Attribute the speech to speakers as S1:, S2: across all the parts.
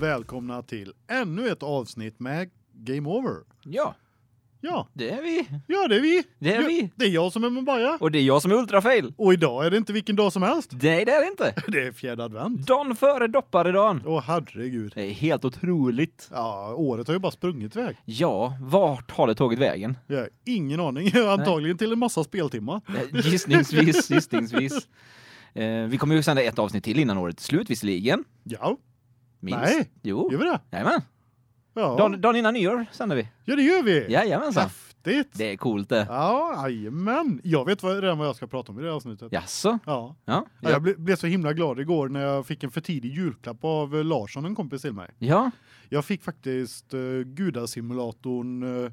S1: välkomna till ännu ett avsnitt med Game Over.
S2: Ja,
S1: Ja,
S2: det är vi.
S1: ja det är vi.
S2: Det är
S1: Ja,
S2: vi.
S1: Det är jag som är Mumbaja.
S2: Och det är jag som är ultrafail.
S1: Och idag är det inte vilken dag som helst.
S2: Nej, det är det inte.
S1: Det är fjärde advent.
S2: Dan före dopparedagen.
S1: Åh herregud.
S2: Det är helt otroligt.
S1: Ja, året har ju bara sprungit iväg.
S2: Ja, vart har det tagit vägen?
S1: Jag har ingen aning. Antagligen till en massa speltimmar.
S2: Eh, Gissningsvis, gissningsvis. Eh, vi kommer ju sända ett avsnitt till innan året är slut visserligen.
S1: Ja,
S2: Minst.
S1: Nej.
S2: Jo.
S1: gör vi det?
S2: Jajamän.
S1: Ja,
S2: Dagen, dagen innan nyår sänder vi.
S1: ja det gör vi.
S2: Jajamensan.
S1: Häftigt.
S2: Det är coolt det.
S1: Ja, jajamän. Jag vet vad, redan vad jag ska prata om i det här avsnittet.
S2: Jaså?
S1: Ja.
S2: Ja.
S1: Ja,
S2: Ja.
S1: jag ble, blev så himla glad igår när jag fick en för tidig julklapp av eh, Larsson, en kompis till mig.
S2: ja.
S1: Jag fick faktiskt uh, gudasimulatorn, eh,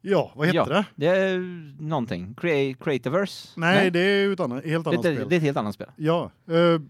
S1: ja vad heter
S2: Ja.
S1: det?
S2: Det är någonting. Crea- Creativerse?
S1: Nej, det är ju ett annat, helt annat
S2: det, det,
S1: spel.
S2: det är ett helt annat spel.
S1: Ja, eh,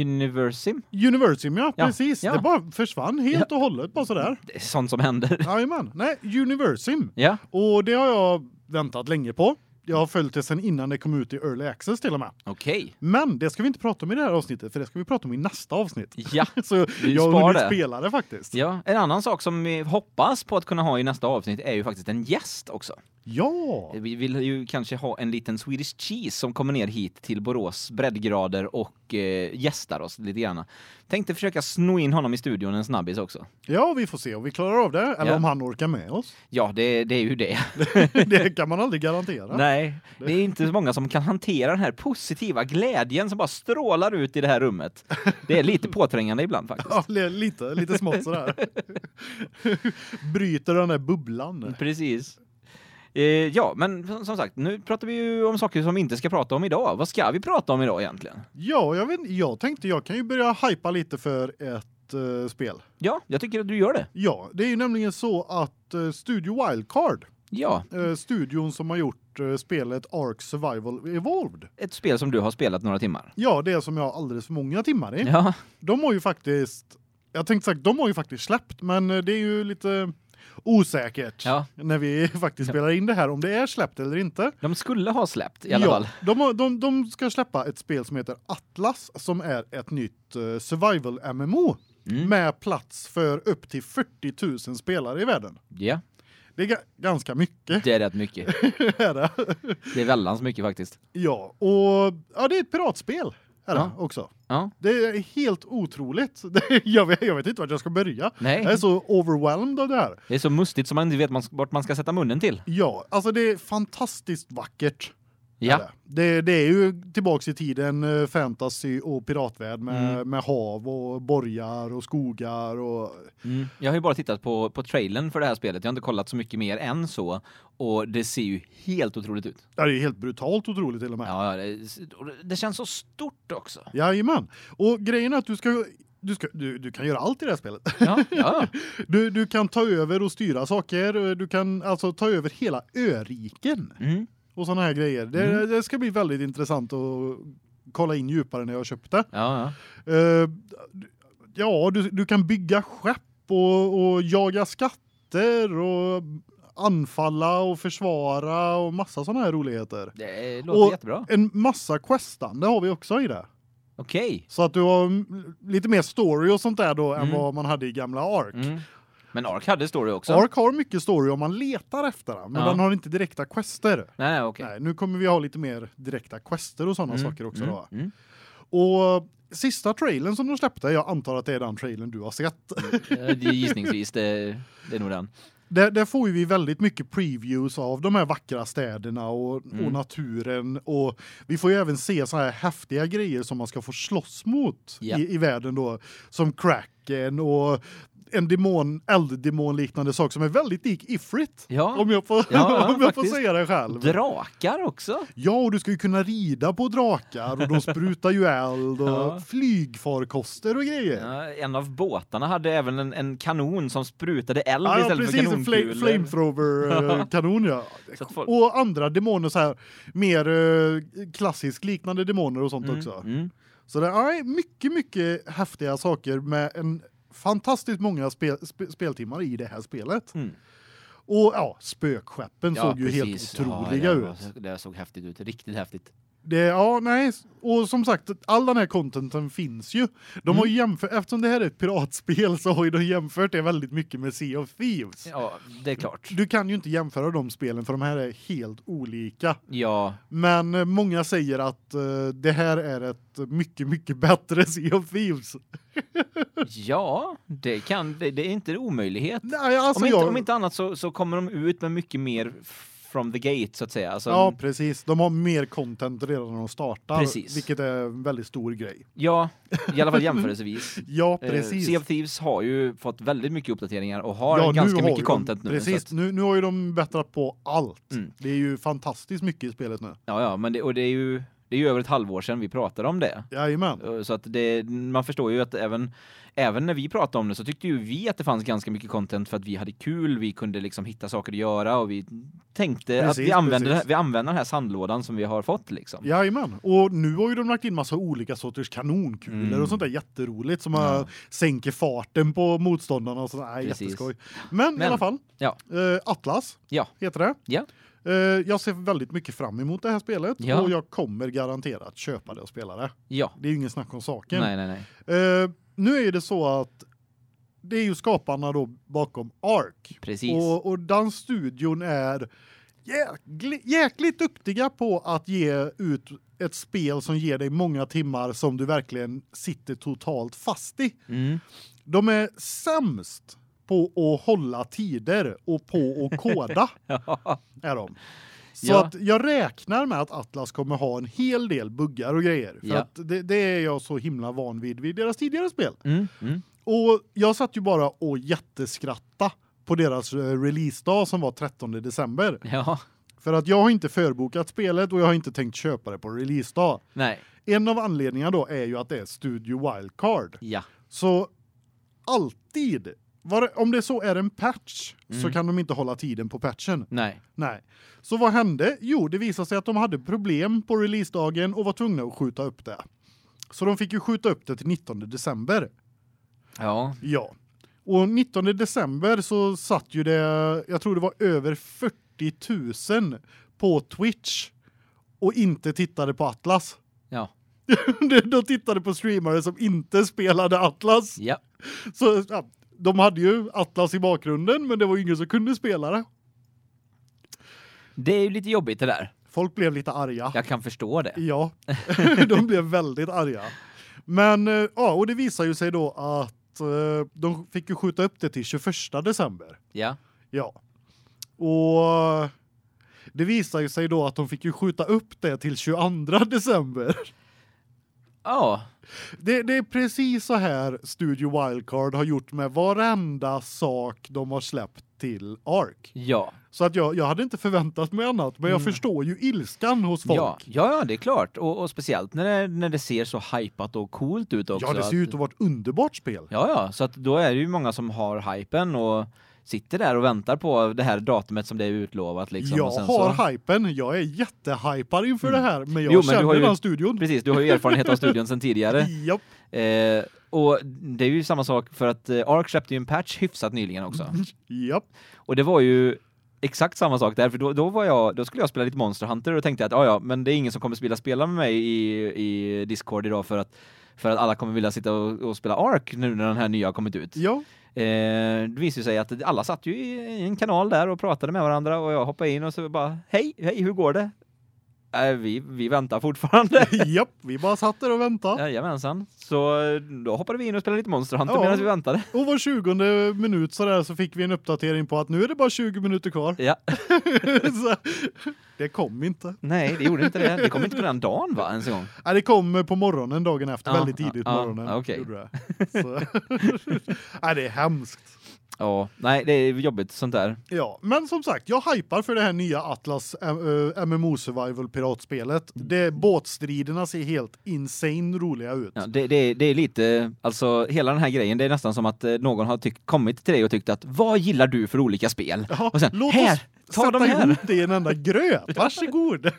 S2: Universim?
S1: Universium ja,
S2: Ja,
S1: precis.
S2: ja.
S1: Det bara försvann helt och hållet, bara sådär.
S2: Det är sånt som händer.
S1: Jajamän, nej Universium.
S2: Ja.
S1: Och det har jag väntat länge på. Jag har följt det sedan innan det kom ut i Early Access till och med.
S2: Okej.
S1: Men det ska vi inte prata om i det här avsnittet, för det ska vi prata om i nästa avsnitt.
S2: Ja.
S1: Så
S2: Vi
S1: jag har
S2: spar
S1: hunnit
S2: det.
S1: spela det faktiskt.
S2: ja. En annan sak som vi hoppas på att kunna ha i nästa avsnitt är ju faktiskt en gäst också.
S1: Ja!
S2: Vi vill ju kanske ha en liten Swedish cheese som kommer ner hit till Borås breddgrader och eh, gästar oss lite grann. Tänkte försöka sno in honom i studion en snabbis också.
S1: Ja, vi får se om vi klarar av det eller
S2: Ja.
S1: om han orkar med oss.
S2: Ja, det, det är ju det.
S1: Det kan man aldrig garantera.
S2: Nej, det är inte så många som kan hantera den här positiva glädjen som bara strålar ut i det här rummet. Det är lite påträngande ibland faktiskt.
S1: Ja, li- lite lite smått så där. Bryter den där
S2: Mm.
S1: bubblan.
S2: Precis. Eh, ja, men som- som sagt, nu pratar vi ju om saker som vi inte ska prata om idag. Vad ska vi prata om idag egentligen?
S1: Ja, jag vet inte, jag tänkte jag kan ju börja hypa lite för ett eh, spel.
S2: Ja, jag tycker att du gör det.
S1: Ja, det är ju nämligen så att eh, Studio Wildcard,
S2: Ja,
S1: eh, studion som har gjort eh, spelet Ark Survival Evolved.
S2: ett spel som du har spelat några timmar.
S1: Ja, det som jag har alldeles för många timmar i.
S2: Ja,
S1: De har ju faktiskt jag tänkte sagt de har ju faktiskt släppt men eh, det är ju lite osäkert
S2: Ja.
S1: när vi faktiskt
S2: Ja.
S1: spelar in det här om det är släppt eller inte.
S2: de skulle ha släppt i alla
S1: ja,
S2: fall.
S1: De, har- de de ska släppa ett spel som heter Atlas som är ett nytt eh, survival MMO
S2: Mm.
S1: med plats för upp till 40 000 spelare i världen.
S2: Ja,
S1: Det är ga ganska mycket
S2: det är rätt mycket.
S1: är det.
S2: Det är väldans mycket faktiskt.
S1: Ja, och ja det är ett piratspel är det
S2: Ja.
S1: också.
S2: Ja,
S1: Det är helt otroligt. Det- Jag vet, jag vet inte vart jag ska börja.
S2: nej.
S1: Jag är så overwhelmed av det här.
S2: Det är så mustigt som man inte vet man- vart man ska sätta munnen till.
S1: Ja, alltså det är fantastiskt vackert. är
S2: Ja,
S1: det. Det, det är ju tillbaks i tiden eh, fantasy och piratvärld med, med hav och borgar och skogar och
S2: mm. jag har ju bara tittat på, på trailern för det här spelet. Jag har inte kollat så mycket mer än så. Och det ser ju helt otroligt ut.
S1: ja, det är helt brutalt otroligt till och med.
S2: Ja, ja, det, och det- det känns så stort också.
S1: Jajamän. Och grejen är att du ska du ska du du kan göra allt i det här spelet.
S2: Ja, ja.
S1: Du du kan ta över och styra saker, du kan alltså ta över hela öriken
S2: Mm.
S1: och såna här grejer. Det
S2: Mm.
S1: det ska bli väldigt intressant att kolla in djupare när jag köpte.
S2: ja, ja.
S1: Eh, ja, du, du kan bygga skepp och, och jaga skatter och anfalla och försvara och massa sådana här roligheter.
S2: Det låter
S1: Och-
S2: jättebra.
S1: En massa questande har vi också i det.
S2: Okej.
S1: Så att du har mm, lite mer story och sånt där då än
S2: Mm.
S1: vad man hade i gamla Ark.
S2: Mm. Men Ark hade story också?
S1: Ark har mycket story om man letar efter den, men
S2: Ja.
S1: den har inte direkta quester.
S2: Nej, nej, okej.
S1: Nej, nu kommer vi ha lite mer direkta quester och sådana saker också
S2: mm.
S1: då.
S2: Mm.
S1: Och sista trailern som de släppte, jag antar att det är den trailern du har sett.
S2: Eh, det är Gissningsvis, det, det är nog den.
S1: Där, där får ju vi väldigt mycket previews av de här vackra städerna och, och
S2: Mm.
S1: naturen. Och vi får ju även se så här häftiga grejer som man ska få slåss mot
S2: Ja.
S1: i, i världen då. Som Kraken och en demon, elddemonliknande sak som är väldigt lik Ifrit.
S2: Ja,
S1: Om jag får,
S2: Ja,
S1: om jag får
S2: faktiskt.
S1: säga det själv.
S2: drakar också.
S1: Ja, och du ska ju kunna rida på drakar och de sprutar ju eld och
S2: Ja.
S1: flygfarkoster och grejer.
S2: Ja, Eh, en av båtarna hade även en, en kanon som sprutade eld
S1: Ja, ja
S2: istället
S1: precis,
S2: för
S1: en
S2: kanonkulor.
S1: fla- flamethrower-kanon, ja.
S2: Så att folk-
S1: Och andra demoner så här, mer eh, klassiskt liknande demoner och sånt
S2: Mm,
S1: också.
S2: mm.
S1: Så det är mycket, mycket häftiga saker med en fantastiskt många spe, spe, speltimmar i det här spelet.
S2: Mm.
S1: Och ja, spökskeppen
S2: Ja,
S1: såg ju helt
S2: precis. Ja,
S1: otroliga
S2: det
S1: ut.
S2: var- Det såg häftigt ut, riktigt häftigt.
S1: Det, ja, nej. Och som sagt, all den här contenten finns ju. De har ju
S2: Mm.
S1: jämfört, eftersom det här är ett piratspel så har ju de jämfört det väldigt mycket med Sea of Thieves.
S2: Ja, det är klart.
S1: Du kan ju inte jämföra de spelen för de här är helt olika.
S2: Ja,
S1: Men eh, många säger att eh, det här är ett mycket, mycket bättre Sea of Thieves.
S2: ja, det kan, det, det är inte en omöjlighet.
S1: Nej, alltså
S2: om, inte,
S1: jag...
S2: om inte annat så, så kommer de ut med mycket mer f- from the gate så att säga. Alltså,
S1: Ja, precis. De har mer content redan när de startar,
S2: Precis.
S1: vilket är en väldigt stor grej.
S2: ja, i alla fall jämförelsevis.
S1: Ja,
S2: Eh,
S1: precis.
S2: Sea of Thieves har ju fått väldigt mycket uppdateringar och har
S1: ja, nu
S2: ganska
S1: har
S2: mycket
S1: ju
S2: content
S1: de,
S2: nu. så
S1: Precis,
S2: Att,
S1: nu, nu har ju de bättrat på allt.
S2: Mm.
S1: Det är ju fantastiskt mycket i spelet nu.
S2: ja, ja, men det, och det är ju det är ju över ett halvår sedan vi pratade om det.
S1: Jajamän.
S2: Eh, Så att det, man förstår ju att även, även när vi pratade om det så tyckte ju vi att det fanns ganska mycket content för att vi hade kul, vi kunde liksom hitta saker att göra och vi tänkte att vi
S1: Precis,
S2: använder,
S1: precis.
S2: vi använder den här sandlådan som vi har fått liksom.
S1: Jajamän. Och nu har ju de lagt in massa olika sorters kanonkulor
S2: Mm.
S1: och sånt där jätteroligt som
S2: Ja.
S1: eh, sänker farten på motståndarna och sånt. Nej,
S2: Precis.
S1: jätteskoj. Men, i
S2: Men-
S1: alla fall.
S2: Ja.
S1: Eh, Atlas
S2: Ja.
S1: heter det.
S2: Ja.
S1: Eh, jag ser väldigt mycket fram emot det här spelet
S2: Ja.
S1: och jag kommer garanterat köpa det och spela det.
S2: Ja.
S1: Det är ju ingen snack om saken.
S2: Nej, nej, nej.
S1: Eh, nu är ju det så att det är ju skaparna då bakom Ark.
S2: Precis.
S1: Och och den studion är jäkli, jäkligt duktiga på att ge ut ett spel som ger dig många timmar som du verkligen sitter totalt fast i.
S2: Mm.
S1: De är sämst på att hålla tider och på att koda
S2: Ja.
S1: är de. Så
S2: Ja.
S1: att jag räknar med att Atlas kommer ha en hel del buggar och grejer för
S2: Ja.
S1: att det, det är jag så himla van vid vid deras tidigare spel.
S2: Mm. Mm.
S1: Och jag satt ju bara och jätteskratta på deras eh, releasedag som var 13 december
S2: Ja.
S1: för att jag har inte förbokat spelet och jag har inte tänkt köpa det på releasedag.
S2: Nej.
S1: En av anledningarna då är ju att det är Studio Wildcard.
S2: Ja.
S1: Så alltid var det, om det så är en patch så
S2: Mm.
S1: kan de inte hålla tiden på patchen.
S2: Nej.
S1: Nej. Så vad hände? Jo, det visade sig att de hade problem på releasedagen och var tvungna att skjuta upp det. Så de fick ju skjuta upp det till 19 december.
S2: Ja.
S1: Ja. Och 19 december så satt ju det, jag tror det var över 40 000 på Twitch och inte tittade på Atlas.
S2: Ja.
S1: De tittade på streamare som inte spelade Atlas.
S2: Ja.
S1: Så ja, de hade ju Atlas i bakgrunden, men det var ju ingen som kunde spela det.
S2: Det är ju lite jobbigt det där.
S1: Folk blev lite arga.
S2: Jag kan förstå det.
S1: Ja, de blev väldigt arga. Men eh, ja, och det visar ju sig då att eh, de fick ju skjuta upp det till 21 december.
S2: Ja.
S1: Ja. Och det visar ju sig då att de fick ju skjuta upp det till 22 december.
S2: Ja.
S1: Det, det är precis så här Studio Wildcard har gjort med varenda sak de har släppt till Ark.
S2: Ja.
S1: Så att jag, jag hade inte förväntat mig annat, men jag
S2: Mm.
S1: förstår ju ilskan hos folk.
S2: Ja, ja, ja, det är klart. Och, och speciellt när det, när det ser så hypat och coolt ut också.
S1: ja det ser ju
S2: att-
S1: ut att vara ett underbart spel.
S2: Ja, ja, så att då är det ju många som har hypen och sitter där och väntar på det här datumet som det är utlovat liksom.
S1: jag
S2: och sen
S1: har
S2: så... Mm.
S1: hypen, jag är jättehypad inför det här, men jag
S2: Jo, men du
S1: känner
S2: har ju-
S1: den studion.
S2: Precis, du har ju erfarenhet av studion sedan tidigare.
S1: Japp.
S2: Eh, och det är ju samma sak för att eh, Ark släppte ju en patch hyfsat nyligen också.
S1: Japp.
S2: Och det var ju exakt samma sak där, för då, då, var jag, då skulle jag spela lite Monster Hunter och tänkte att "Ah, ja, ja, men det är ingen som kommer spela spela med mig i, i Discord idag för att för att alla kommer vilja sitta och, och spela Ark nu när den här nya har kommit ut.
S1: Ja.
S2: Eh, det visade sig att alla satt ju i i en kanal där och pratade med varandra och jag hoppade in och så bara hej, hej, hur går det? Eh, vi, vi väntar fortfarande.
S1: Japp, vi bara satt där och väntade.
S2: Jajamensan. Så eh, då hoppade vi in och spelade lite Monster Hunter
S1: Ja.
S2: medan vi väntade.
S1: Och var 20 minut så där så fick vi en uppdatering på att nu är det bara 20 minuter kvar.
S2: Ja.
S1: så, det kom inte.
S2: Nej, det gjorde inte det. Det kom inte på den dagen va, ens en gång?
S1: Nej, det kom eh, på morgonen dagen efter,
S2: Ja,
S1: väldigt tidigt på
S2: ja,
S1: morgonen.
S2: ja, okej.
S1: gjorde det. Så. Nej, det är hemskt.
S2: Ja, nej, det är jobbigt sånt där.
S1: Ja, men som sagt, jag hypar för det här nya Atlas eh, eh, MMO survival piratspelet. Det båtstriderna ser helt insane roliga ut.
S2: Ja, det, det, det är lite, alltså hela den här grejen, det är nästan som att eh, någon har tyckt, kommit till dig och tyckt att vad gillar du för olika spel?
S1: Ja,
S2: Och sen,
S1: låt oss
S2: här, ta
S1: Sätta
S2: de här!
S1: ihop det i en enda gröt. Varsågod.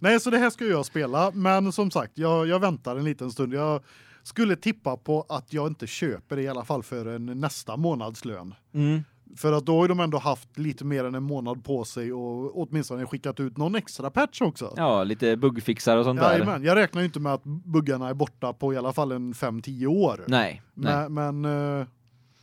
S1: Nej, så det här ska jag spela, men som sagt, jag jag väntar en liten stund. Jag skulle tippa på att jag inte köper det i alla fall för en nästa månadslön.
S2: Mm.
S1: För att då har ju de ändå haft lite mer än en månad på sig och åtminstone skickat ut någon extra patch också.
S2: Ja, lite buggfixar och sånt där.
S1: Jajamän, jag räknar ju inte med att buggarna är borta på i alla fall en 5-10 år.
S2: Nej, nej.
S1: Men, men eh,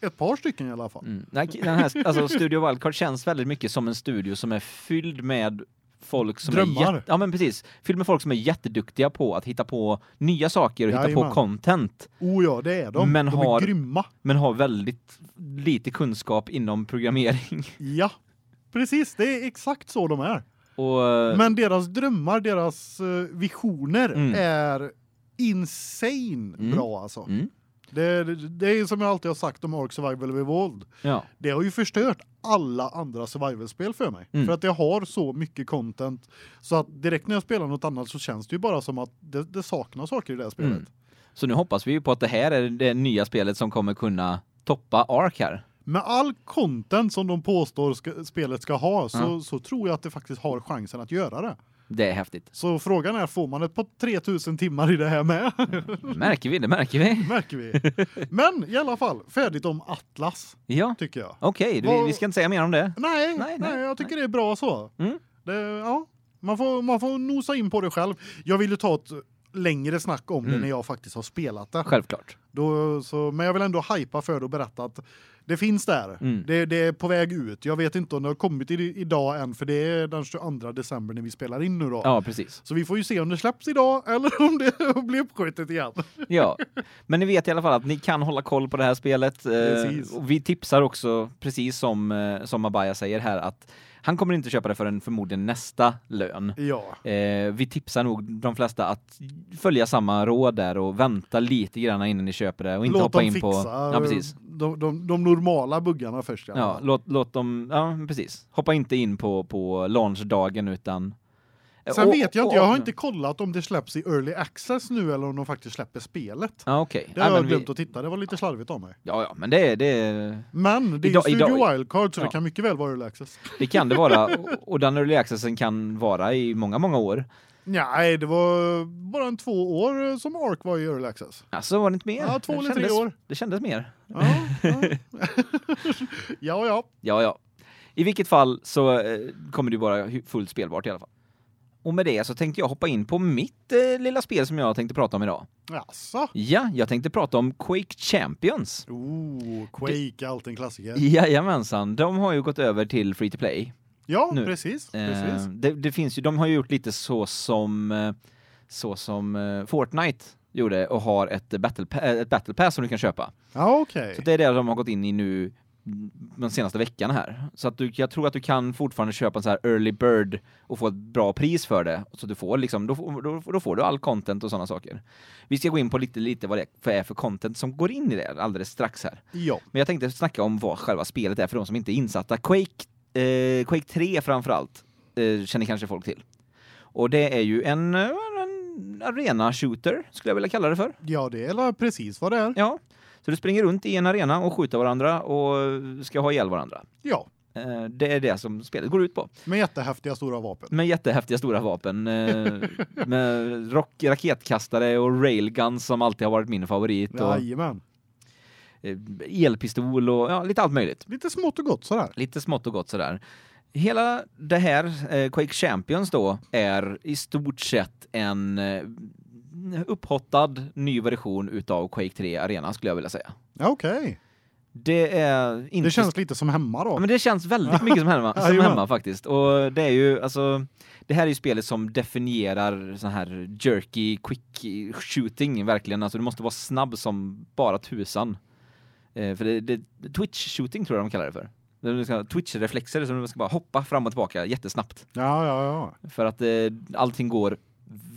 S1: ett par stycken i alla fall.
S2: Mm. Nej, Den här, alltså Studio Wildcard känns väldigt mycket som en studio som är fylld med folk som är
S1: Drömmar.
S2: jätte, ja men precis, fylld med folk som är jätteduktiga på att hitta på nya saker och hitta på
S1: Jajamän.
S2: content,
S1: Oh ja, det är de.
S2: Mm. Men
S1: de
S2: har-
S1: är grymma.
S2: men har väldigt lite kunskap inom programmering.
S1: Ja. Precis, det är exakt så de är.
S2: Och
S1: Men deras drömmar, deras eh, visioner
S2: Mm.
S1: är insane
S2: Mm.
S1: bra alltså.
S2: mm,
S1: Det, det, det är som jag alltid har sagt om Ark Survival Evolved.
S2: ja,
S1: Det har ju förstört alla andra survival-spel för mig.
S2: Mm.
S1: För att det har så mycket content. Så att direkt när jag spelar något annat så känns det ju bara som att det, det saknas saker i det här spelet.
S2: Mm. så nu hoppas vi ju på att det här är det nya spelet som kommer kunna toppa Ark här.
S1: Med all content som de påstår ska, spelet ska ha så,
S2: Ja.
S1: så tror jag att det faktiskt har chansen att göra det.
S2: Det är häftigt.
S1: Så frågan är, får man ett par 3000 timmar i det här med?
S2: Märker vi det, märker vi.
S1: Märker vi. Men i alla fall, färdigt om Atlas,
S2: Ja,
S1: tycker jag.
S2: okej, du-
S1: Vad-
S2: vi ska inte säga mer om det.
S1: Nej,
S2: Nej,
S1: nej,
S2: nej,
S1: jag tycker det är bra så.
S2: Mm.
S1: Det, ja, man får, man får nosa in på det själv. Jag ville ta ett längre snack om
S2: Mm.
S1: det när jag faktiskt har spelat det.
S2: Självklart.
S1: Då, så, men jag vill ändå hypa för det och berätta att det finns där.
S2: Mm.
S1: Det, det är på väg ut. Jag vet inte om det har kommit i, idag än, för det är den 22 december när vi spelar in nu då.
S2: Ja, precis.
S1: Så vi får ju se om det släpps idag eller om det blir uppskjutet igen.
S2: Ja, men ni vet i alla fall att ni kan hålla koll på det här spelet. Eh,
S1: Precis.
S2: och vi tipsar också, precis som, eh, som Abaya säger här, att han kommer inte köpa det förrän förmodligen nästa lön.
S1: Ja,
S2: Eh, vi tipsar nog de flesta att följa samma råd där och vänta lite grann innan ni köper det och inte
S1: låt
S2: hoppa
S1: dem
S2: in
S1: fixa
S2: på... Ja, precis.
S1: De, de, de normala buggarna först. i alla
S2: Ja,
S1: fall.
S2: låt, låt dem... Ja, men precis. Hoppa inte in på, på launchdagen utan... Eh,
S1: Sen
S2: och-
S1: vet jag
S2: och-
S1: inte, jag har inte kollat om det släpps i early access nu eller om de faktiskt släpper spelet.
S2: Ja, okej.
S1: Det har
S2: Ja,
S1: jag
S2: men vi-
S1: glömt att titta, det var lite slarvigt av mig.
S2: Ja, ja, men det, det,
S1: Men det är
S2: Idag-
S1: ju Studio
S2: idag-
S1: Wildcard så
S2: Ja.
S1: det kan mycket väl vara early access.
S2: det kan det vara. Och- Och den early accessen kan vara i många, många år.
S1: Nej, det var bara en två år eh, som Ark var i early access.
S2: Alltså var det inte mer?
S1: Ja, två
S2: Det
S1: eller tre
S2: kändes-
S1: år.
S2: Det kändes mer.
S1: Ja, ja. ja, ja.
S2: Ja, ja. I vilket fall så eh, kommer det ju vara hu- fullt spelbart i alla fall. Och med det så tänkte jag hoppa in på mitt eh, lilla spel som jag tänkte prata om idag.
S1: Jaså?
S2: Ja, jag tänkte prata om Quake Champions.
S1: Oh, Quake är alltid en klassiker.
S2: Jajamensan, de har ju gått över till free to play.
S1: Ja,
S2: Nu.
S1: precis.
S2: Eh,
S1: precis.
S2: Det, det finns ju, de har ju gjort lite så som, eh, så som eh, Fortnite gjorde och har ett battle, pa- eh, ett battle pass som du kan köpa.
S1: Ja, okej.
S2: Så det är det de har gått in i nu mm, den senaste veckan här. Så att du, jag tror att du kan fortfarande köpa en så här early bird och få ett bra pris för det. Så du får liksom, då, får- då, då får du all content och sådana saker. Vi ska gå in på lite, lite vad det är för content som går in i det alldeles strax här.
S1: Ja.
S2: Men jag tänkte snacka om vad själva spelet är för de som inte är insatta. Quake, eh, Quake 3 framförallt eh, känner kanske folk till. Och det är ju en, eh, en arena-shooter, skulle jag vilja kalla det för.
S1: ja, det är väl precis vad det är.
S2: Ja, så du springer runt i en arena och skjuter varandra och ska ha ihjäl varandra.
S1: Ja,
S2: Eh, Det är det som spelet går ut på.
S1: med jättehäftiga stora vapen.
S2: Med jättehäftiga stora vapen. eh, Med rock, raketkastare och railguns som alltid har varit min favorit. Och
S1: Jajamän.
S2: eh, elpistol och ja, lite allt möjligt.
S1: Lite smått och gott sådär.
S2: Lite smått och gott sådär. Hela det här, eh, Quake Champions då, är i stort sett en eh, upphottad ny version utav Quake 3 Arena skulle jag vilja säga.
S1: Ja, okej.
S2: Det är inte
S1: Det känns lite som hemma då.
S2: Ja, men det känns väldigt mycket som hemma, som
S1: Jajamän.
S2: hemma faktiskt. Och det är ju alltså det här är ju spelet som definierar sån här jerky quick shooting verkligen. Alltså du måste vara snabb som bara tusan. Eh, för det, det twitch shooting tror jag de kallar det för. Du ska ha twitch reflexer som du ska bara hoppa fram och tillbaka jättesnabbt
S1: Ja, ja, ja.
S2: för att eh, allting går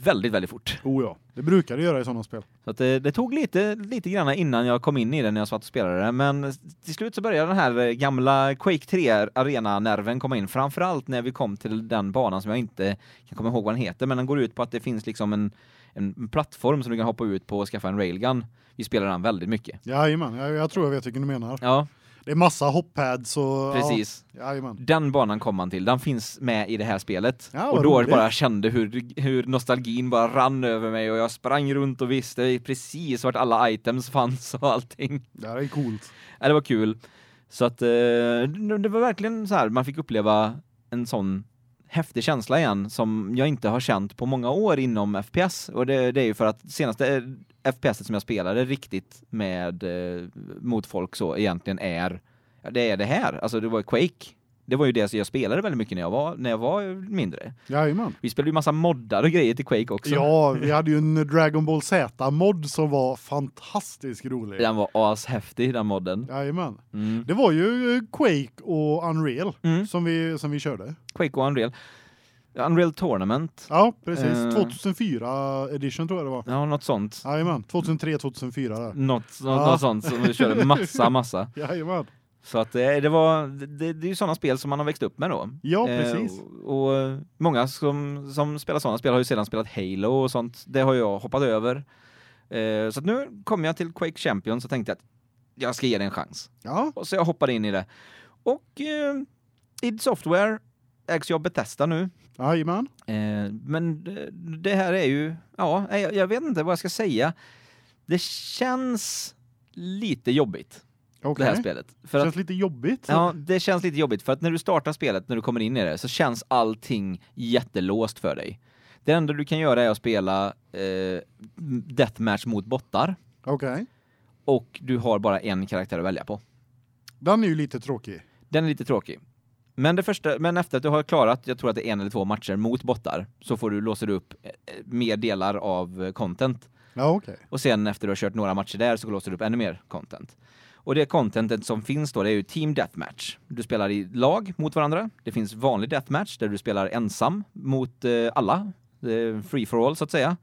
S2: väldigt väldigt fort.
S1: Oh ja, det brukar det göra i sådana spel.
S2: Så att det, det tog lite, lite grann innan jag kom in i det när jag satt och spelade det. Men till slut så började den här eh, gamla Quake 3-arena-nerven komma in. Framförallt när vi kom till den banan som jag inte kan komma ihåg vad den heter. Men den går ut på att det finns liksom en, en plattform som du kan hoppa ut på och skaffa en railgun. Vi spelar den väldigt mycket.
S1: Jajamän, jag, jag tror jag vet vilken du menar.
S2: Ja,
S1: Det är massa hoppads och...
S2: precis.
S1: Ja, jajamän.
S2: Den banan kom man till. Den finns med i det här spelet.
S1: Ja, vad
S2: och då
S1: roligt.
S2: bara kände hur, hur nostalgin bara rann över mig och jag sprang runt och visste precis vart alla items fanns och allting.
S1: Det här är coolt.
S2: Ja, det var kul. Så att eh, det det var verkligen så här, man fick uppleva en sån häftig känsla igen som jag inte har känt på många år inom FPS. Och det, det är ju för att senaste eh, FPS som jag spelade riktigt med eh, mot folk så egentligen är, ja, det är det här. Alltså det var Quake. Det var ju det som jag spelade väldigt mycket när jag var, när jag var mindre.
S1: Jajamän.
S2: Vi spelade ju massa moddar och grejer till Quake också.
S1: Ja, vi hade ju en Dragon Ball Z-mod som var fantastiskt rolig.
S2: Den var ashäftig den modden.
S1: Jajamän.
S2: Mm.
S1: Det var ju eh, Quake och Unreal
S2: Mm.
S1: som, vi, som vi körde.
S2: Quake och Unreal. Unreal Tournament.
S1: Ja, precis.
S2: Eh.
S1: 2004 edition tror jag det var.
S2: Ja, något sånt.
S1: Jajamän, 2003, 2004 där.
S2: Något, något,
S1: Ja.
S2: något sånt som vi körde massa, massa.
S1: Jajamän.
S2: Så att eh, det, det var, det, det är ju sådana spel som man har växt upp med då.
S1: Ja,
S2: Eh,
S1: precis.
S2: och, och många som, som spelar sådana spel har ju sedan spelat Halo och sånt. Det har jag hoppat över. Eh, så att nu kom jag till Quake Champions och tänkte att jag ska ge det en chans.
S1: Ja,
S2: Och så jag hoppade in i det. Och eh, id Software ägs ju av Bethesda nu.
S1: jajamän.
S2: Eh, men det- det här är ju, ja, nej, jag, jag vet inte vad jag ska säga. Det känns lite jobbigt,
S1: Okej.
S2: det här spelet. För
S1: Känns
S2: att,
S1: lite jobbigt.
S2: ja, det känns lite jobbigt, för att när du startar spelet, när du kommer in i det, så känns allting jättelåst för dig. Det enda du kan göra är att spela eh, deathmatch mot bottar,
S1: Okej.
S2: och du har bara en karaktär att välja på.
S1: Den är ju lite tråkig.
S2: Den är lite tråkig. Men, det första, men efter att du har klarat, jag tror att det är en eller två matcher mot bottar, så får du låser du upp eh, eh, mer delar av eh, content.
S1: Ja, okej.
S2: Och sen efter du har kört några matcher där så låser du upp ännu mer content. Och det contentet som finns då, det är ju Team Deathmatch. Du spelar i lag mot varandra. Det finns vanlig Deathmatch där du spelar ensam mot eh, alla. Eh, free for all så att säga.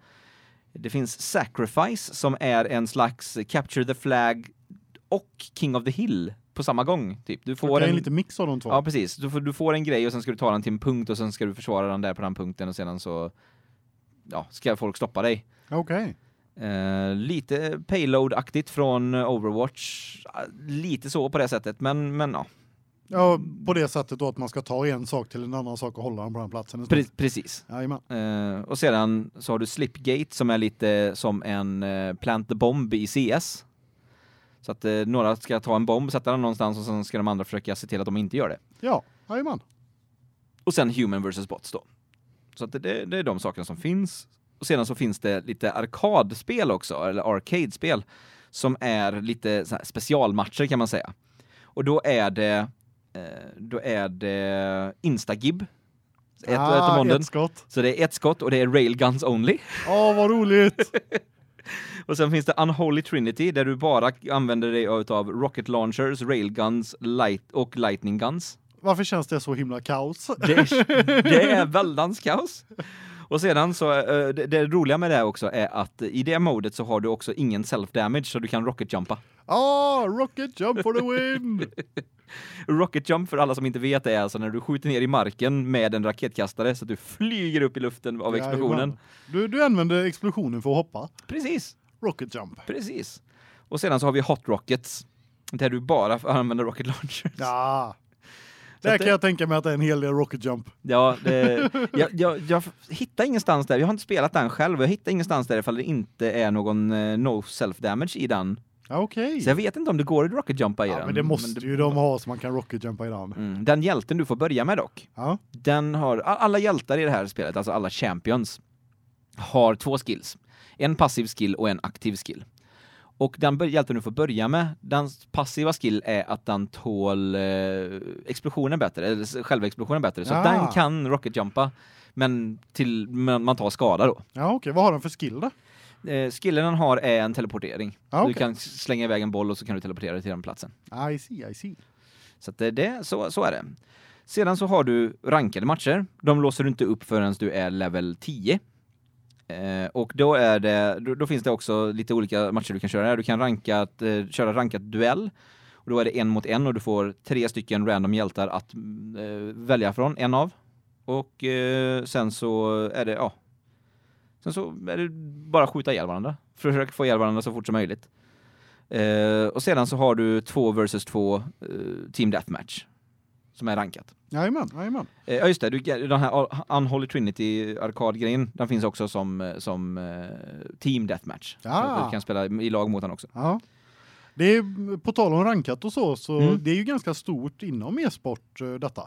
S2: Det finns Sacrifice som är en slags Capture the Flag och King of the Hill på samma gång. Typ. Du får
S1: Det är en
S2: en,
S1: liten mix av de två.
S2: Ja, precis. Du får, du får en grej och sen ska du ta den till en punkt och sen ska du försvara den där på den punkten och sedan så ja, ska folk stoppa dig.
S1: Okej.
S2: Eh, lite payload-aktigt från Overwatch. Eh, Lite så på det sättet, men, men ja.
S1: Ja, på det sättet då att man ska ta en sak till en annan sak och hålla den på den platsen. en stund.
S2: Pre- precis.
S1: Jajamän.
S2: Eh, och sedan så har du Slipgate som är lite som en eh, plant the bomb i CS. Så att eh, några ska ta en bomb, sätta den någonstans och sen ska de andra försöka se till att de inte gör det.
S1: Ja, jajamän.
S2: Och sen Human vs. Bots då. Så att det- det, det är de sakerna som finns. Och sedan så finns det lite arkadspel också, eller arcade-spel, som är lite så här specialmatcher kan man säga. Och då är det, eh, då är det Instagib, ett, ett,
S1: Ah,
S2: om den.
S1: ett skott.
S2: Så det är ett skott och det är Railguns Only.
S1: Ja, vad roligt.
S2: Och sen finns det Unholy Trinity där du bara använder dig av Rocket Launchers, Railguns light och Lightning Guns.
S1: Varför känns det så himla kaos?
S2: Det är, det är väldans kaos. Och sedan så, eh, det, det roliga med det här också är att i det modet så har du också ingen self-damage så du kan rocket-jumpa.
S1: Ah, rocket jump for the win.
S2: Rocket-jump för alla som inte vet är alltså när du skjuter ner i marken med en raketkastare så att du flyger upp i luften av explosionen.
S1: Jajamän. Du du använder explosionen för att hoppa.
S2: Precis,
S1: Rocket jump.
S2: precis. Och sedan så har vi Hot Rockets där du bara använder rocket launchers.
S1: Ja.
S2: att
S1: Där kan
S2: det-
S1: jag tänka mig att det är en hel del rocket jump.
S2: Ja, det, jag, jag, jag hittar ingenstans där, jag har inte spelat den själv, jag hittar ingenstans där ifall det inte är någon eh, no self-damage i den
S1: Ja, okej.
S2: Så jag vet inte om det går att rocketjumpa i
S1: Ja,
S2: den.
S1: men det måste
S2: det-
S1: ju de ha så man kan rocket jumpa i den.
S2: Mm. Den hjälten du får börja med dock,
S1: Ja.
S2: den har, a- alla hjältar i det här spelet, alltså alla champions, har två skills. En passiv skill och en aktiv skill. Och den bör- hjälten du får börja med, den passiva skill är att den tål eh, explosionen bättre, eller s- själva explosionen bättre. Så
S1: Ah.
S2: den kan rocketjumpa, men, till, men man tar skada då.
S1: Ja, okej. Vad har den för skill då?
S2: Eh, skillen den har är en teleportering.
S1: Ja, Ah,
S2: Du
S1: okej.
S2: kan s- slänga iväg en boll och så kan du teleportera dig till den platsen.
S1: I see, I see.
S2: Så att det, det så, så är det. Sedan så har du rankade matcher. De låser du inte upp förrän du är level 10. Eh, och då, är det, då, då finns det också lite olika matcher du kan köra. Du kan ranka, eh, köra rankat duell. Och då är det en mot en och du får tre stycken random hjältar att mm, eh, välja från, en av. Och eh, sen så är det, ja. Sen så är det bara skjuta ihjäl varandra. Försök få ihjäl varandra så fort som möjligt. Eh, och sedan så har du två versus två eh, team deathmatch som är rankat.
S1: Jajamän, jajamän.
S2: Eh, Ja just det, du, den här Unholy Trinity arkadgrejen, den finns också som, eh, som eh, team deathmatch. Så
S1: Ah.
S2: att Du kan spela i lag mot den också.
S1: Ja. Det är, på tal om rankat och så, så
S2: Mm.
S1: det är ju ganska stort inom e-sport eh, detta.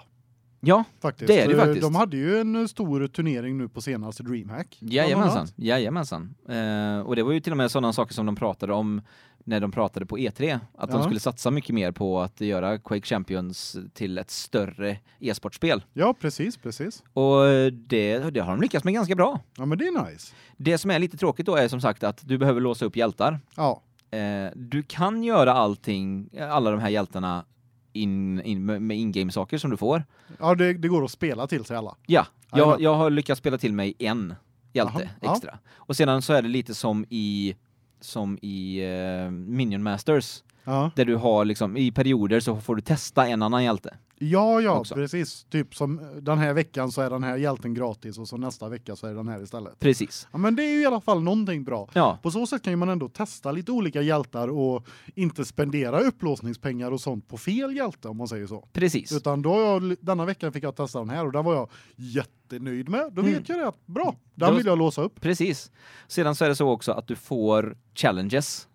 S2: Ja,
S1: Faktiskt.
S2: Det är det
S1: Eh,
S2: faktiskt.
S1: De hade ju en stor turnering nu på senaste DreamHack. bland
S2: jajamensan.
S1: annat.
S2: Jajamensan. Eh, och det var ju till och med sådana saker som de pratade om när de pratade på E3. Att de
S1: Ja.
S2: skulle satsa mycket mer på att göra Quake Champions till ett större e-sportspel.
S1: Ja, precis, precis.
S2: Och eh, det, det har de lyckats med ganska bra.
S1: Ja, men det är nice.
S2: Det som är lite tråkigt då är som sagt att du behöver låsa upp hjältar.
S1: Ja,
S2: Eh, du kan göra allting, eh, alla de här hjältarna in, in, med med in-game-saker som du får.
S1: ja det, det går att spela till sig alla.
S2: Ja, jag,
S1: Jajamän.
S2: jag har lyckats spela till mig en hjälte
S1: Jaha, ja.
S2: extra. Och sedan så är det lite som i som i eh, Minion Masters
S1: Ja,
S2: där du har liksom i perioder så får du testa en annan hjälte.
S1: ja, ja
S2: Också.
S1: precis. Typ som eh, den här veckan så är den här hjälten gratis och så nästa vecka så är den här istället.
S2: Precis.
S1: Ja, men det är ju i alla fall någonting bra.
S2: Ja,
S1: På så sätt kan ju man ändå testa lite olika hjältar och inte spendera upplåsningspengar och sånt på fel hjälte om man säger så.
S2: precis.
S1: Utan då har jag, denna veckan fick jag testa den här och den var jag jättenöjd med. Då vet
S2: Mm.
S1: jag det att bra,
S2: Det var-
S1: den vill jag låsa upp.
S2: Precis. Sedan så är det så också att du får challenges.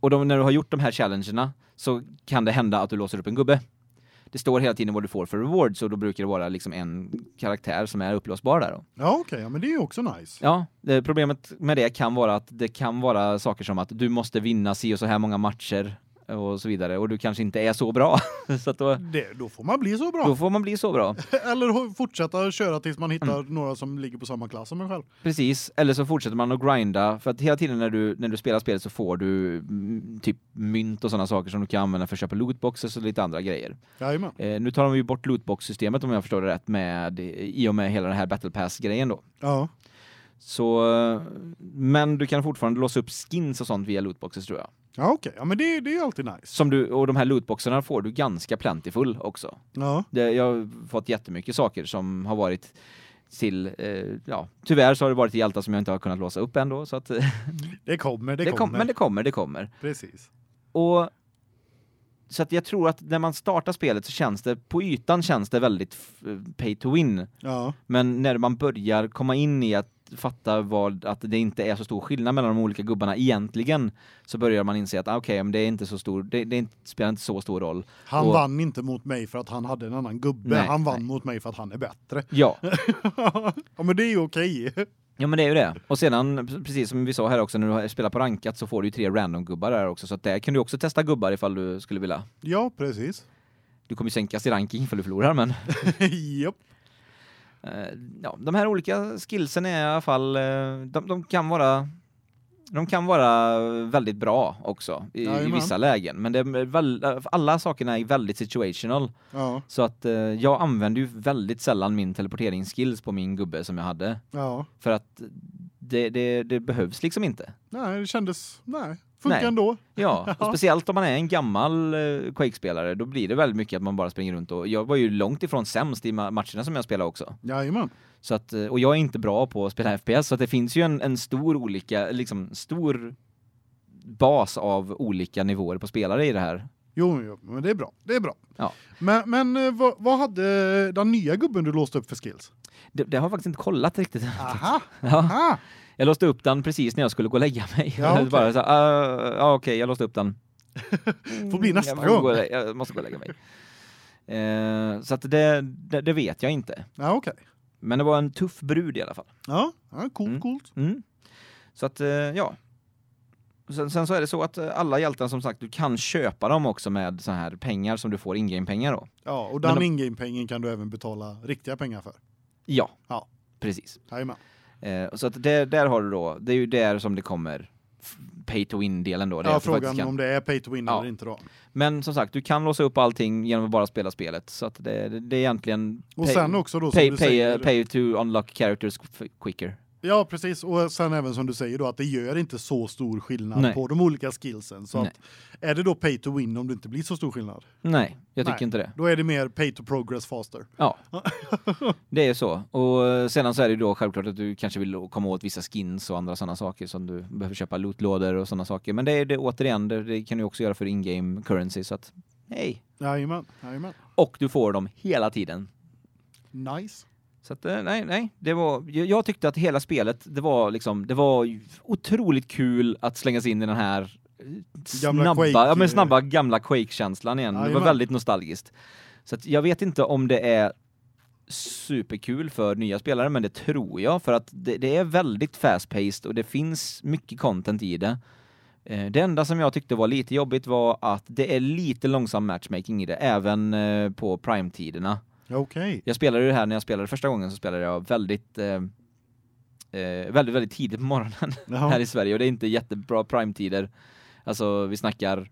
S2: Och de, när du har gjort de här challengerna så kan det hända att du låser upp en gubbe. Det står hela tiden vad du får för rewards och då brukar det vara liksom en karaktär som är upplåsbar där. Då.
S1: Ja okej, ja, men det är ju också nice.
S2: Ja, det, problemet med det kan vara att det kan vara saker som att du måste vinna si och så här många matcher och så vidare och du kanske inte är så bra. så att då,
S1: Det, då får man bli så bra.
S2: då får man bli så bra.
S1: Eller ho- fortsätta köra tills man hittar
S2: Mm.
S1: några som ligger på samma klass som en själv.
S2: Precis, eller så fortsätter man att grinda för att hela tiden när du, när du spelar spelet så får du mm, typ mynt och sådana saker som du kan använda för att köpa lootboxes och lite andra grejer.
S1: Jajamän.
S2: Eh, nu tar de ju bort lootbox-systemet om jag förstår det rätt med, i och med hela den här battle pass-grejen då.
S1: Ja.
S2: Så, eh, men du kan fortfarande låsa upp skins och sånt via lootboxes tror jag.
S1: Ja okej, ja, men det, det är ju alltid nice.
S2: Som du, och de här lootboxarna får du ganska plentiful också.
S1: Ja.
S2: Det, jag har fått jättemycket saker som har varit till, eh, ja, tyvärr så har det varit hjältar som jag inte har kunnat låsa upp ändå så att
S1: Det kommer, det,
S2: Det kom,
S1: kommer.
S2: men det kommer, det kommer.
S1: Precis.
S2: Och så att jag tror att när man startar spelet så känns det, på ytan känns det väldigt f- eh, pay to win.
S1: Ja.
S2: Men när man börjar komma in i att fatta vad, att det inte är så stor skillnad mellan de olika gubbarna egentligen, så börjar man inse att ah, okej, men det är inte så stor, det, det är inte- spelar inte så stor roll.
S1: Han
S2: Och-
S1: vann inte mot mig för att han hade en annan gubbe.
S2: Nej,
S1: han vann
S2: nej.
S1: mot mig för att han är bättre.
S2: Ja,
S1: ja men det är ju okej.
S2: ja men det är ju det. Och sedan, precis som vi sa här också, när du har- spelar på rankat så får du ju tre random-gubbar där också, så att där kan du också testa gubbar ifall du skulle vilja.
S1: Ja precis.
S2: Du kommer ju sänkas i ranking ifall du förlorar, men
S1: Japp.
S2: Eh, ja, de här olika skillsen är i alla fall, eh, de, de kan vara de kan vara väldigt bra också i, i
S1: Jajamän.
S2: vissa lägen, men det är väl, alla sakerna är väldigt situational.
S1: Ja.
S2: Så att eh, jag använder ju väldigt sällan min teleporteringsskills på min gubbe som jag hade.
S1: Ja.
S2: För att det, det, det behövs liksom inte.
S1: Nej, det kändes nej, funkar
S2: Nej.
S1: ändå.
S2: Ja, och
S1: Ja.
S2: speciellt om man är en gammal eh, Quake-spelare, då blir det väldigt mycket att man bara springer runt och jag var ju långt ifrån sämst i ma- matcherna som jag spelade också.
S1: Jajamän.
S2: Så att, eh, och jag är inte bra på att spela FPS, så att det finns ju en, en stor olika, liksom stor bas av olika nivåer på spelare i det här.
S1: Jo, jo, men det är bra. Det är bra.
S2: Ja.
S1: Men men eh, vad, vad hade eh, den nya gubben du låste upp för skills?
S2: Det, det har jag faktiskt inte kollat riktigt.
S1: Aha.
S2: Ja,
S1: Aha.
S2: jag låste upp den precis när jag skulle gå och lägga mig.
S1: Ja, okej.
S2: Bara så, här, "Ah, ja, okej, jag låste upp den.
S1: Får bli nästa
S2: jag får
S1: gång.
S2: Gå och, lä- jag måste gå och lägga mig. Eh, så att det, det, det vet jag inte.
S1: Ja, okej.
S2: Men det var en tuff brud i alla fall.
S1: Ja, ja, coolt,
S2: Mm.
S1: coolt.
S2: Mm. Så att, eh, ja. Sen, sen så är det så att eh, alla hjältar som sagt, du kan köpa dem också med så här pengar som du får in-game-pengar då.
S1: Ja, och
S2: Men
S1: den
S2: de-
S1: ingame-pengen kan du även betala riktiga pengar för.
S2: Ja.
S1: Ja.
S2: Precis.
S1: Jajamän.
S2: Eh, så att det, där har du då, det är ju där som det kommer f- pay to win-delen då. det är
S1: Ja,
S2: att du faktiskt
S1: frågan
S2: kan.
S1: om det är pay to win
S2: Ja.
S1: eller inte då.
S2: Men som sagt, du kan låsa upp allting genom att bara spela spelet. Så att det, det, det är egentligen
S1: Och
S2: pay,
S1: sen också då som
S2: pay,
S1: du
S2: pay,
S1: säger.
S2: pay to unlock characters f- quicker.
S1: Ja, precis. Och sen även som du säger då att det gör inte så stor skillnad
S2: Nej.
S1: på de olika skillsen. Så
S2: Nej.
S1: att, är det då pay to win om det inte blir så stor skillnad?
S2: Nej, jag tycker
S1: Nej.
S2: inte det.
S1: Då är det mer pay to progress faster.
S2: Ja, det är så. Och eh, sedan så är det ju då självklart att du kanske vill komma åt vissa skins och andra sådana saker som du behöver köpa lootlådor och sådana saker. Men det är det återigen, det, det kan du också göra för in-game currency så att hej.
S1: Jajamän, jajamän.
S2: Och du får dem hela tiden.
S1: Nice.
S2: Så att eh, nej, nej, det var, jag, jag tyckte att hela spelet, det var liksom, det var ju otroligt kul att slängas in i den här
S1: Gamla
S2: snabba,
S1: Quake- eh,
S2: ja, men snabba gamla Quake-känslan igen. det var
S1: Jajamän.
S2: väldigt nostalgiskt. Så att jag vet inte om det är superkul för nya spelare, men det tror jag för att det, det är väldigt fast-paced och det finns mycket content i det. Eh, Det enda som jag tyckte var lite jobbigt var att det är lite långsam matchmaking i det, även eh, på Prime-tiderna.
S1: Ja, Okej.
S2: Jag spelade ju det här när jag spelade första gången så spelade jag väldigt eh, eh, väldigt väldigt tidigt på morgonen här
S1: Jaha.
S2: i Sverige och det är inte jättebra prime-tider. Alltså vi snackar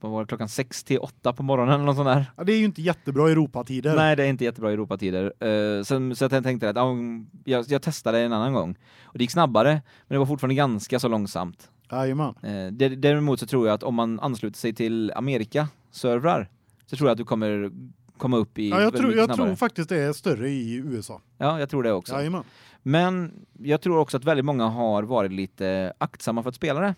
S2: vad var det, klockan 6 till 8 på morgonen eller något sånt där.
S1: Ja, det är ju inte jättebra Europatider.
S2: Nej, det är inte jättebra Europatider. Uh, sen, så jag tänkte att ja, om- jag, jag testade en annan gång och det gick snabbare, men det var fortfarande ganska så långsamt.
S1: Jajamän.
S2: Eh, dä- däremot så tror jag att om man ansluter sig till Amerika-servrar så tror jag att du kommer komma upp i
S1: Ja, jag
S2: väldigt
S1: tror,
S2: mycket
S1: jag tror
S2: snabbare.
S1: faktiskt det är större i USA.
S2: Ja, jag tror det också.
S1: Jajamän.
S2: Men jag tror också att väldigt många har varit lite aktsamma för att spela det.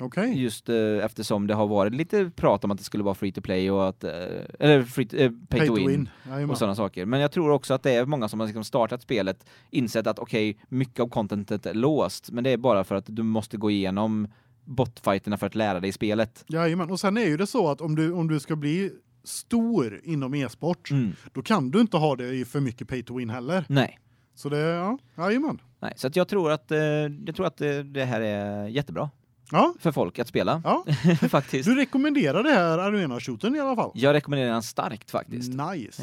S1: Okej.
S2: Just eh, eftersom det har varit lite prat om att det skulle vara free to play och att... Eh, eller free to, eh, pay, to win.
S1: Jajamän.
S2: Och sådana saker. Men jag tror också att det är många som har liksom startat spelet, insett att okej, mycket av contentet är låst, men det är bara för att du måste gå igenom botfighterna för att lära dig spelet.
S1: Jajamän. Och sen är ju det så att om du, om du ska bli stor inom e-sport,
S2: Mm.
S1: då kan du inte ha det i för mycket pay to win heller.
S2: Nej.
S1: Så det, ja, jajamän.
S2: Nej. Så att jag tror att, eh, jag tror att eh, det här är jättebra
S1: Ja,
S2: för folk att spela,
S1: ja.
S2: faktiskt.
S1: Du rekommenderar det här arena-shooten i alla fall?
S2: Jag rekommenderar den starkt faktiskt.
S1: Nice.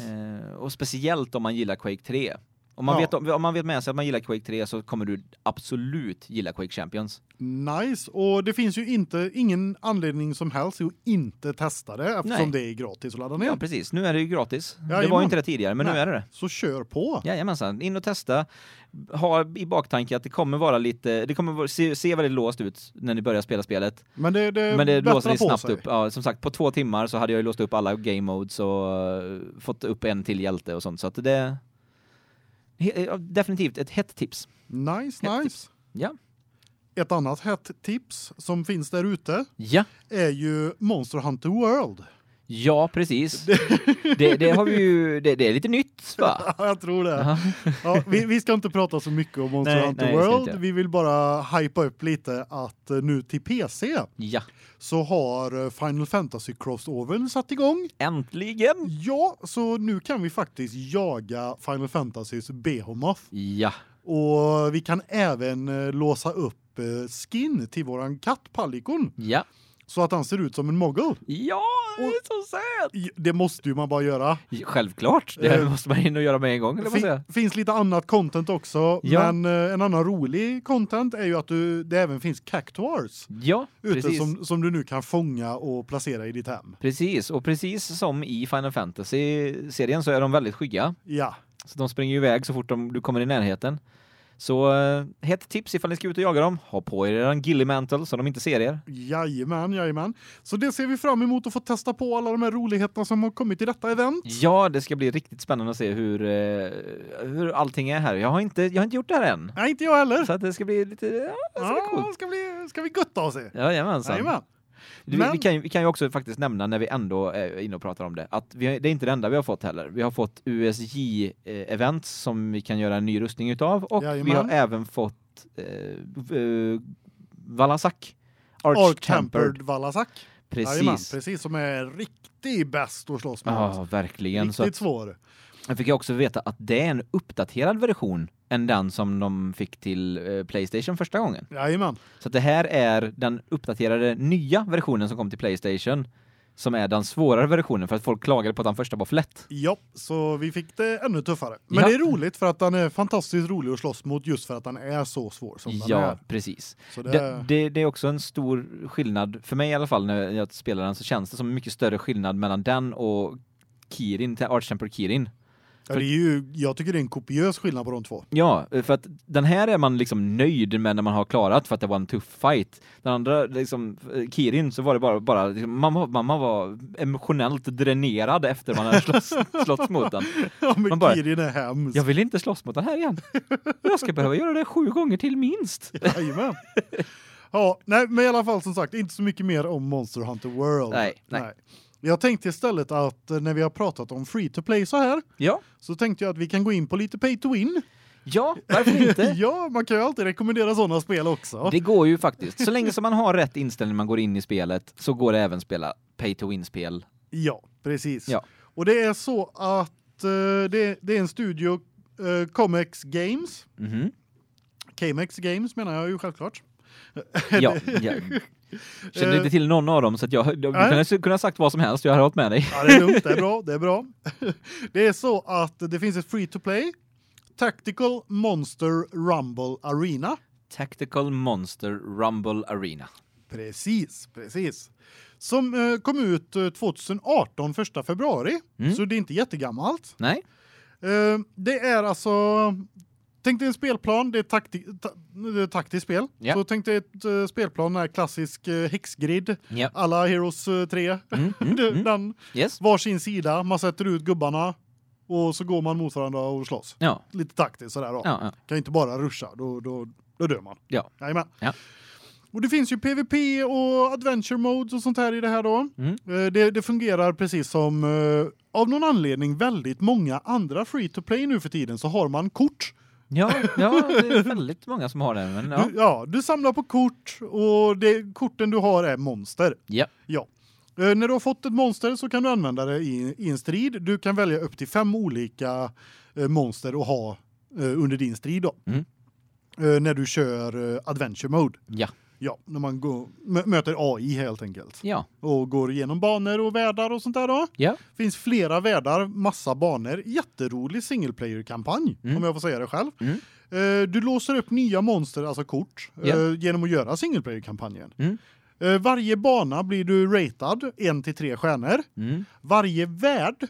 S2: Eh, och speciellt om man gillar Quake 3. Om man,
S1: Ja.
S2: vet, om, om man vet med sig att man gillar Quake 3 så kommer du absolut gilla Quake Champions.
S1: Nice. Och det finns ju inte, ingen anledning som helst att inte testa det eftersom
S2: Nej.
S1: det är gratis att ladda
S2: Ja,
S1: ner.
S2: precis. Nu är det ju gratis. det var
S1: Jajamän.
S2: ju inte det tidigare, men nu
S1: Nej.
S2: är det det.
S1: Så kör på.
S2: Jajamensan, in och testa. Ha i baktanke att det kommer vara lite, det kommer vara- se, se väldigt låst ut när ni börjar spela spelet.
S1: Men det, det,
S2: Men det
S1: bättrar
S2: låser ni
S1: Eh, på
S2: snabbt
S1: sig.
S2: upp. Ja, som sagt, på två timmar så hade jag ju låst upp alla game modes och eh, fått upp en till hjälte och sånt. Så att det... He, ja, definitivt ett hett tips.
S1: Nice,
S2: Hett
S1: nice.
S2: Ja.
S1: Ett annat hett tips som finns där ute
S2: Ja.
S1: är ju Monster Hunter World.
S2: Ja, precis. Det, det har vi ju, det, det är lite nytt va?
S1: jag tror det.
S2: Ja.
S1: Ja, vi, vi ska inte prata så mycket om Monster
S2: Nej,
S1: Hunter
S2: nej, det ska vi
S1: World.
S2: inte.
S1: Vi vill bara hypa upp lite att eh, nu till PC
S2: Ja,
S1: så har eh, Final Fantasy Crossovern satt igång.
S2: äntligen!
S1: Ja, så nu kan vi faktiskt jaga Final Fantasys Behemoth.
S2: Ja,
S1: Och vi kan även eh, låsa upp eh, skin till våran katt Pallikon
S2: ja,
S1: så att han ser ut som en mogul.
S2: ja, det är så söt!
S1: I- Det måste ju man bara göra.
S2: Självklart, det
S1: Eh,
S2: måste man in och göra med en gång, eller vad säger
S1: Fin, finns lite annat content också,
S2: Ja.
S1: men eh, en annan rolig content är ju att du, det även finns cactuars
S2: Ja,
S1: ute
S2: precis.
S1: som, som du nu kan fånga och placera i ditt hem.
S2: Precis, och precis som i Final Fantasy-serien så är de väldigt skygga.
S1: Ja,
S2: Så de springer ju iväg så fort de, du kommer i närheten. Så eh, hett tips ifall ni ska ut och jaga dem, ha på er eran gillimantle så de inte ser er.
S1: jajamän, jajamän. Så det ser vi fram emot att få testa på alla de här roligheterna som har kommit i detta event.
S2: Ja, det ska bli riktigt spännande att se hur, eh, hur allting är här. Jag har, inte, jag har inte gjort det här än.
S1: Nej, inte jag heller.
S2: Så att det ska bli lite, ja, det ska bli
S1: Ja,
S2: coolt.
S1: ska, bli, ska vi götta oss i.
S2: Jajamensan.
S1: Jajamän.
S2: Vi,
S1: Men-
S2: vi, kan, ju- vi kan ju också faktiskt nämna när vi ändå är inne och pratar om det, att vi, har- det är inte det enda vi har fått heller. Vi har fått USJ-event som vi kan göra en ny rustning utav och vi
S1: Jajamän.
S2: har även fått eh, eh, Valasak. Arch,
S1: Arch
S2: Tempered.
S1: Tempered Valasak. Jajamän,
S2: Precis.
S1: precis som är riktigt bäst att slåss med.
S2: Ja,
S1: alltså.
S2: verkligen. Så
S1: Riktigt svår.
S2: jag fick jag också veta att det är en uppdaterad version än den som de fick till eh, Playstation första gången.
S1: Jajamän.
S2: Så att det här är den uppdaterade nya versionen som kom till Playstation som är den svårare versionen för att folk klagade på att den första var för lätt.
S1: Ja, så vi fick det ännu tuffare. Men
S2: Ja.
S1: det är roligt för att den är fantastiskt rolig att slåss mot just för att den är så svår som den
S2: Ja,
S1: är.
S2: precis.
S1: Så det,
S2: Det, det, det är också en stor skillnad, för mig i alla fall när jag spelar den så känns det som en mycket större skillnad mellan den och Kirin, Archtemper Kirin.
S1: ja, det är ju, jag tycker det är en kopiös skillnad på de två.
S2: Ja, för att den här är man liksom nöjd med när man har klarat för att det var en tuff fight. Den andra, liksom, eh, Kirin, så var det bara, bara liksom, man, var- man, man var emotionellt dränerad efter man hade slåss, slåss mot den.
S1: Ja, men
S2: Man bara-
S1: Kirin är hemsk.
S2: Jag vill inte slåss mot den här igen. Jag ska behöva göra det sju gånger till minst.
S1: Jajamän. Ja, nej, men i alla fall som sagt, inte så mycket mer om Monster Hunter World.
S2: Nej, nej.
S1: Jag tänkte istället att eh, när vi har pratat om free to play så här
S2: Ja,
S1: så tänkte jag att vi kan gå in på lite pay to win.
S2: Ja, varför inte?
S1: ja, man kan ju alltid rekommendera sådana spel också.
S2: Det går ju faktiskt. Så länge som man har rätt inställning när man går in i spelet så går det även spela pay to win-spel.
S1: Ja, precis.
S2: Ja.
S1: Och det är så att eh, det, det är en studio, eh, Comex Games,
S2: Mhm.
S1: Camex Games menar jag ju självklart.
S2: Ja, ja. Kände inte till någon av dem så att jag, du
S1: Eh. Nej.
S2: kunde kunde ha sagt vad som helst, jag hade hållit med dig.
S1: Ja, det är lugnt, det är bra, det är bra. Det är så att det finns ett free to play Tactical Monster Rumble Arena.
S2: Tactical Monster Rumble Arena.
S1: Precis, precis. Som eh, kom ut eh, 2018 första februari,
S2: Mm.
S1: så det är inte jättegammalt.
S2: Nej?
S1: Eh, det är alltså tänk dig en spelplan, det är, takti, ta, det är ett taktiskt spel.
S2: Ja.
S1: Så tänk dig ett eh, spelplan här klassisk eh, häxgrid,
S2: Ja.
S1: alla Heroes eh, 3.
S2: Mm, mm,
S1: Den-
S2: mm.
S1: Den
S2: Yes.
S1: varsin sida, man sätter ut gubbarna och så går man mot varandra och slåss.
S2: Ja.
S1: Lite taktiskt sådär då.
S2: Ja, ja.
S1: Kan inte bara ruscha, då då då dör man.
S2: Ja.
S1: Jajamän.
S2: Ja.
S1: Och det finns ju PVP och adventure modes och sånt här i det här då.
S2: Mm.
S1: Eh, Det, det fungerar precis som eh, av någon anledning väldigt många andra free to play nu för tiden så har man kort.
S2: Ja, ja, det är väldigt många som har det. Men ja.
S1: Du, ja, du samlar på kort och det korten du har är monster.
S2: Ja.
S1: Ja. Eh, när du har fått ett monster så kan du använda det i, i en strid. Du kan välja upp till fem olika eh, monster att ha eh, under din strid då.
S2: Mm.
S1: Eh, när du kör eh, adventure mode.
S2: Ja.
S1: Ja, när man går, mö- möter AI helt enkelt.
S2: Ja.
S1: Och går igenom banor och världar och sånt där då.
S2: Ja.
S1: Finns flera världar, massa banor. Jätterolig single player-kampanj,
S2: Mm.
S1: om jag får säga det själv.
S2: Mm.
S1: Eh, du låser upp nya monster, alltså kort,
S2: Ja.
S1: eh, genom att göra single player-kampanjen.
S2: Mm.
S1: Eh, varje bana blir du ratad, en till tre stjärnor.
S2: Mm.
S1: Varje värld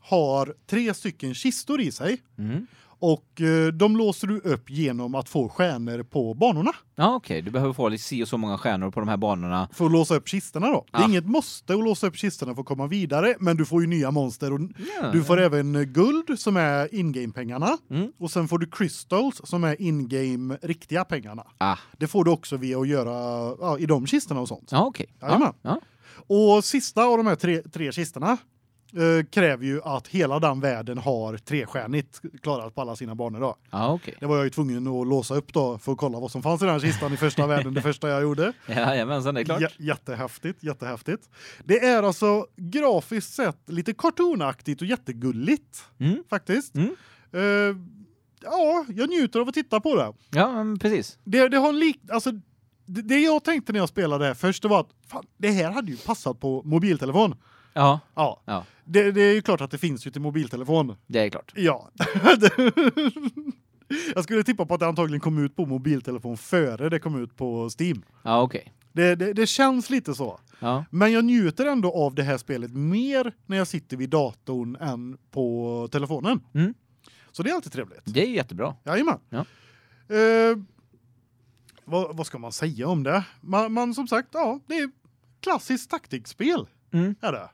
S1: har tre stycken kistor i sig.
S2: Mm.
S1: Och eh, de låser du upp genom att få stjärnor på banorna.
S2: Ja, okej. Du behöver få lite si och så många stjärnor på de här banorna.
S1: För att låsa upp kistorna då. Det
S2: Ah.
S1: är inget måste att låsa upp kistorna för att komma vidare. Men du får ju nya monster och
S2: Ja.
S1: du får även eh, guld som är in-game-pengarna.
S2: Mm.
S1: Och sen får du crystals som är in-game riktiga pengarna.
S2: Ah.
S1: Det får du också via att göra ja, i de kistorna och sånt.
S2: Ja, okej.
S1: Jajamän.
S2: Ja. Ja.
S1: Och sista av de här tre, tre kistorna eh, kräver ju att hela den världen har trestjärnigt klarat på alla sina banor då.
S2: Ja, okej.
S1: Det var jag ju tvungen att låsa upp då för att kolla vad som fanns i den här kistan i första världen, det första jag gjorde.
S2: Jajamensan, det är klart.
S1: Jä- jättehäftigt, jättehäftigt. Det är alltså grafiskt sett lite cartoonaktigt och jättegulligt
S2: Mm.
S1: faktiskt.
S2: Mm.
S1: Eh, ja, jag njuter av att titta på det.
S2: Ja, men precis.
S1: Det, det har en lik... Alltså, det, det jag tänkte när jag spelade det här först det var att fan, det här hade ju passat på mobiltelefon.
S2: Ja,
S1: Ja.
S2: Ja.
S1: Det, det är ju klart att det finns ju till mobiltelefon.
S2: det är klart.
S1: Ja. jag skulle tippa på att det antagligen kom ut på mobiltelefon före det kom ut på Steam.
S2: Ja, okej.
S1: Det, det, det känns lite så.
S2: Ja.
S1: Men jag njuter ändå av det här spelet mer när jag sitter vid datorn än på telefonen.
S2: Mm.
S1: Så det är alltid trevligt.
S2: Det är ju jättebra.
S1: Jajamän.
S2: Ja.
S1: Eh, vad, vad ska man säga om det? Man, man som sagt, ja, det är klassiskt taktikspel.
S2: Mm.
S1: Är det.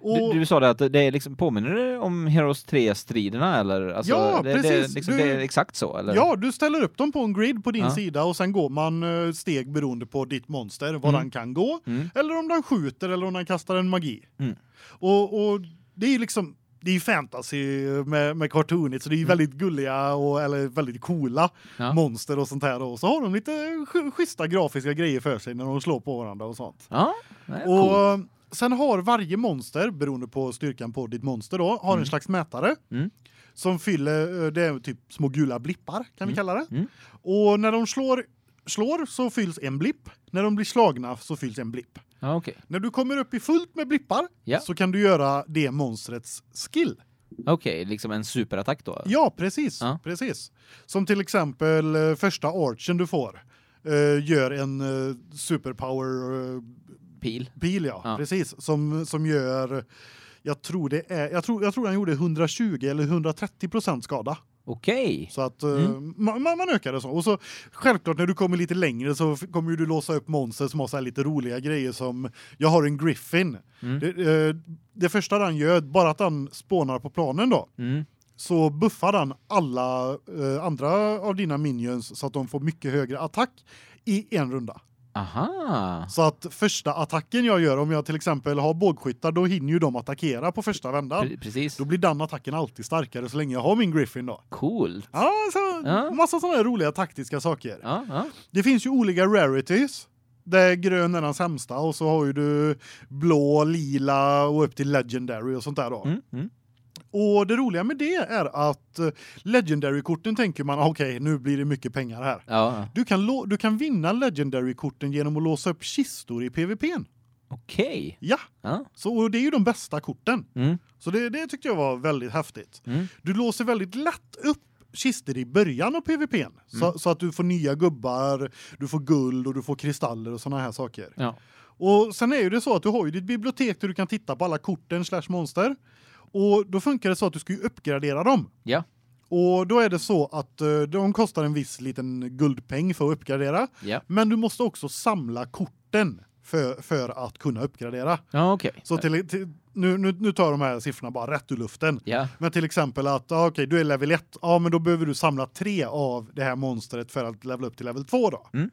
S2: Du,
S1: Och,
S2: du sa det att det är liksom, påminner det om Heroes 3-striderna eller? Alltså,
S1: Ja,
S2: det, Det, är
S1: precis.
S2: liksom,
S1: Du-
S2: det är exakt så eller?
S1: ja, du ställer upp dem på en grid på din
S2: Ja.
S1: sida och sen går man eh, steg beroende på ditt monster, var
S2: Mm.
S1: den kan gå.
S2: Mm.
S1: Eller om den skjuter eller om den kastar en magi.
S2: Mm.
S1: Och, och det är ju liksom, det är ju fantasy med, med cartoonigt så det är ju väldigt gulliga och eller väldigt coola
S2: Mm. Ja.
S1: monster och sånt här. Och så har de lite sch- schyssta grafiska grejer för sig när de slår på varandra och sånt.
S2: Ja, det är
S1: och
S2: coolt.
S1: sen har varje monster, beroende på styrkan på ditt monster då, har en slags mätare.
S2: Mm.
S1: Som fyller, eh, det är typ små gula blippar kan vi kalla det.
S2: Mm.
S1: Och när de slår, slår så fylls en blipp. När de blir slagna så fylls en blipp.
S2: Ja, okej.
S1: När du kommer upp i fullt med blippar
S2: Ja.
S1: så kan du göra det monstrets skill.
S2: Okej, liksom en superattack då?
S1: Ja, precis.
S2: Ja.
S1: Precis. Som till exempel eh, första archen du får eh, gör en eh, superpower eh,
S2: Pil?
S1: pil ja.
S2: Ja.
S1: precis som som gör jag tror det är jag tror jag tror han gjorde 120 eller 130 skada
S2: Okej.
S1: så att eh,
S2: Mm.
S1: man man man ökar det så och så självklart när du kommer lite längre så f- kommer ju du låsa upp monster som har så här lite roliga grejer som jag har en griffin.
S2: Mm.
S1: Det, eh, det första den gör bara att den spånar på planen då
S2: Mm.
S1: så buffar den alla eh, andra av dina minions så att de får mycket högre attack i en runda.
S2: Aha.
S1: Så att första attacken jag gör, om jag till exempel har bågskyttar, då hinner ju de attackera på första vändan.
S2: Pre- precis.
S1: Då blir den attacken alltid starkare så länge jag har min Griffin då.
S2: Coolt.
S1: Ja, så,
S2: Ja.
S1: massa sådana här roliga taktiska saker.
S2: Ja, ja.
S1: Det finns ju olika rarities. Där grön är den sämsta och så har ju du blå, lila och upp till legendary och sånt där då.
S2: Mm, mm.
S1: Och det roliga med det är att eh, legendary-korten tänker man ah, okej, nu blir det mycket pengar här.
S2: ja. ja.
S1: Du kan lå- du kan vinna legendary-korten genom att låsa upp kistor i PVP:n.
S2: Okej.
S1: Ja,
S2: Ja.
S1: så och det är ju de bästa korten.
S2: Mm,
S1: Så det det tyckte jag var väldigt häftigt.
S2: mm.
S1: Du låser väldigt lätt upp kistor i början av PVP:n
S2: Mm.
S1: så, så att du får nya gubbar, du får guld och du får kristaller och såna här saker.
S2: Ja.
S1: Och sen är ju det så att du har ju ditt bibliotek där du kan titta på alla korten slash monster. Och då funkar det så att du ska ju uppgradera dem.
S2: Ja.
S1: Och då är det så att eh, de kostar en viss liten guldpeng för att uppgradera.
S2: Ja.
S1: Men du måste också samla korten för, för att kunna uppgradera.
S2: Ja, okej.
S1: Så till, till, nu, nu, nu tar de här siffrorna bara rätt ur luften.
S2: Ja.
S1: Men till exempel att ah, okej, du är level 1. Ja, men då behöver du samla tre av det här monstret för att levela upp till level 2 då.
S2: Mm.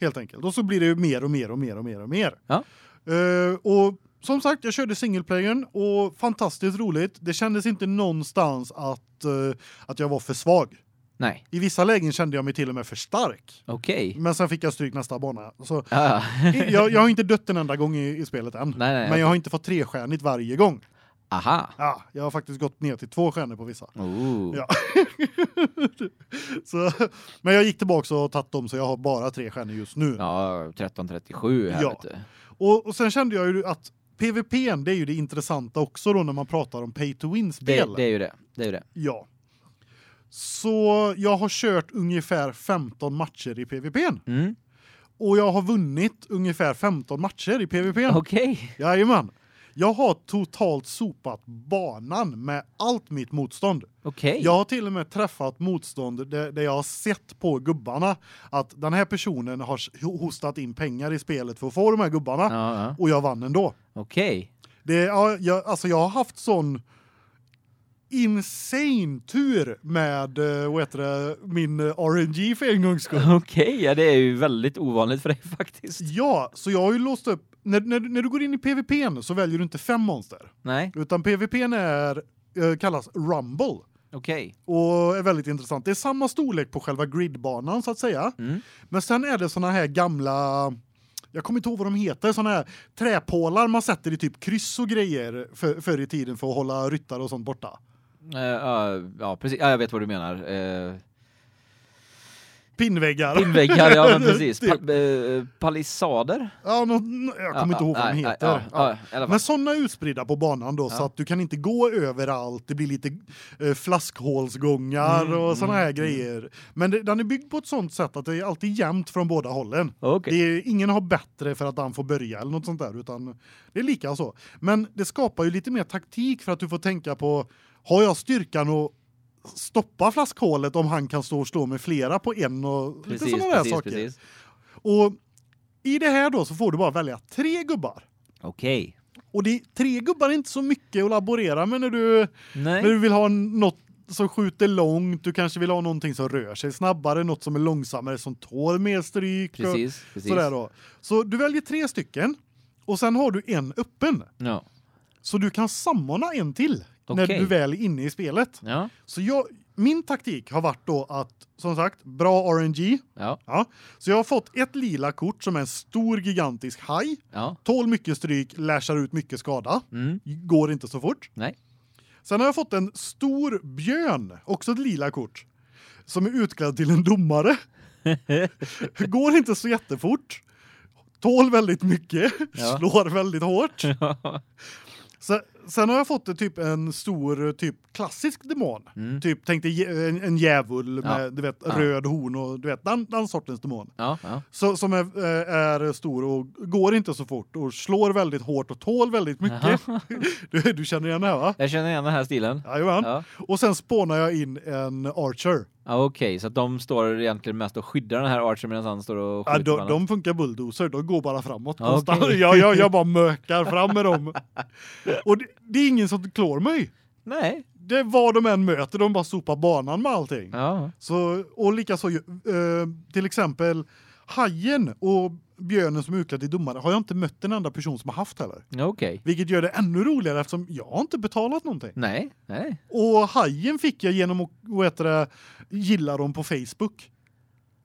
S1: Helt enkelt. Och så blir det ju mer och mer och mer och mer och mer.
S2: Ja.
S1: Eh, och som sagt, jag körde singleplayern och fantastiskt roligt. Det kändes inte någonstans att eh, att jag var för svag.
S2: Nej.
S1: I vissa lägen kände jag mig till och med för stark.
S2: Okej.
S1: Men sen fick jag stryk nästa bana. Så
S2: Ja.
S1: jag jag har inte dött en enda gång i, i spelet än.
S2: Nej, nej,
S1: men jag har inte fått trestjärnigt varje gång.
S2: Aha.
S1: Ja, jag har faktiskt gått ner till två stjärnor på vissa.
S2: Oh.
S1: Ja. Så, men jag gick tillbaka och tagit dem så jag har bara tre stjärnor just nu.
S2: Ja, 1337 här
S1: Ja.
S2: vet du.
S1: Och, och sen kände jag ju att PVP:n det är ju det intressanta också då när man pratar om pay to win
S2: Det,
S1: spel.
S2: det är ju det. Det är ju det.
S1: Ja. Så jag har kört ungefär 15 matcher i PVP:n
S2: Mm.
S1: och jag har vunnit ungefär 15 matcher i PVP:n.
S2: Okej.
S1: Jajamän. Jag har totalt sopat banan med allt mitt motstånd.
S2: Okej.
S1: Jag har till och med träffat motstånd där, där jag har sett på gubbarna att den här personen har s- hostat in pengar i spelet för att få de här gubbarna
S2: Ja, ja.
S1: och jag vann ändå.
S2: Okej.
S1: Det ja, jag alltså jag har haft sån insane tur med eh, vad heter det min eh, RNG för en gångs skull.
S2: Okej, ja det är ju väldigt ovanligt för dig faktiskt.
S1: Ja, så jag har ju låst upp när när, du- när du går in i PVP:n så väljer du inte fem monster
S2: Nej,
S1: utan PVP:n är eh, kallas Rumble.
S2: okej.
S1: och är väldigt intressant. Det är samma storlek på själva gridbanan så att säga.
S2: Mm.
S1: Men sen är det såna här gamla jag kommer inte ihåg vad de heter, såna här träpålar man sätter i typ kryss och grejer för förr i tiden för att hålla ryttare och sånt borta.
S2: Eh, ja, ja, precis. Ja, jag vet vad du menar. Eh,
S1: Pinnväggar.
S2: Inväggar, ja men precis.
S1: Typ.
S2: Pal eh, palissader?
S1: ja, nå- nå- jag kommer
S2: Ja,
S1: inte ihåg vad de
S2: nej, nej,
S1: heter.
S2: Ja,
S1: Ja.
S2: ja, i alla fall.
S1: Men såna är utspridda på banan då så
S2: Ja.
S1: att du kan inte gå överallt. Det blir lite eh, flaskhålsgångar
S2: Mm,
S1: och såna
S2: mm,
S1: här grejer. Men det, den är byggd på ett sånt sätt att det är alltid jämnt från båda hållen.
S2: Okej.
S1: Det är ingen har bättre för att han får börja eller något sånt där utan det är lika så. Men det skapar ju lite mer taktik för att du får tänka på har jag styrkan att stoppa flaskhålet om han kan stå och slå med flera på en och lite
S2: Precis,
S1: sådana där
S2: precis,
S1: saker.
S2: precis.
S1: Och i det här då så får du bara välja tre gubbar.
S2: Okej.
S1: Och det tre gubbar är inte så mycket att laborera med när du
S2: Nej.
S1: när du vill ha något som skjuter långt, du kanske vill ha någonting som rör sig snabbare, något som är långsammare som tål mer stryk. och-
S2: Precis, precis.
S1: Sådär då. Så du väljer tre stycken och sen har du en öppen.
S2: Ja.
S1: Så du kan sammana en till när
S2: Okej.
S1: du väl är inne i spelet.
S2: Ja.
S1: Så jag, min taktik har varit då att, som sagt, bra RNG.
S2: Ja.
S1: Ja. Så jag har fått ett lila kort som är en stor gigantisk haj.
S2: Ja.
S1: Tål mycket stryk, lashar ut mycket skada.
S2: Mm.
S1: Går inte så fort.
S2: Nej.
S1: Sen har jag fått en stor björn, också ett lila kort. Som är utklädd till en domare. Går inte så jättefort. Tål väldigt mycket,
S2: Ja.
S1: slår väldigt hårt. Sen, sen har jag fått eh, typ en stor eh, typ klassisk demon.
S2: Mm.
S1: Typ tänkte en, en djävul med
S2: Ja.
S1: du vet
S2: Ja.
S1: röd horn och du vet den, den sortens demon.
S2: Ja. Ja.
S1: Så, som är, eh, är stor och går inte så fort och slår väldigt hårt och tål väldigt mycket. Du, du känner igen det här va?
S2: Jag känner igen den här stilen.
S1: Jajamän.
S2: Ja.
S1: Och sen spånar jag in en Archer.
S2: Ja, okej, så att de står egentligen mest och skyddar den här Archer medan han står och
S1: Ja,
S2: skjuter på
S1: de,
S2: honom.
S1: de funkar bulldozer, de går bara framåt
S2: Ja, okej.
S1: konstant. Jag, jag, jag bara mökar fram med dem. Och det, det är ingen som klår mig.
S2: Nej.
S1: Det är vad de än möter, de bara sopar banan med allting.
S2: Ja.
S1: Så, och likaså ju- eh, till exempel hajen och björnen som är utklädd till domare har jag inte mött en enda person som har haft heller.
S2: Ja, Okej.
S1: Vilket gör det ännu roligare eftersom jag har inte betalat någonting.
S2: Nej, nej.
S1: Och hajen fick jag genom att vad heter det, gilla dem på Facebook.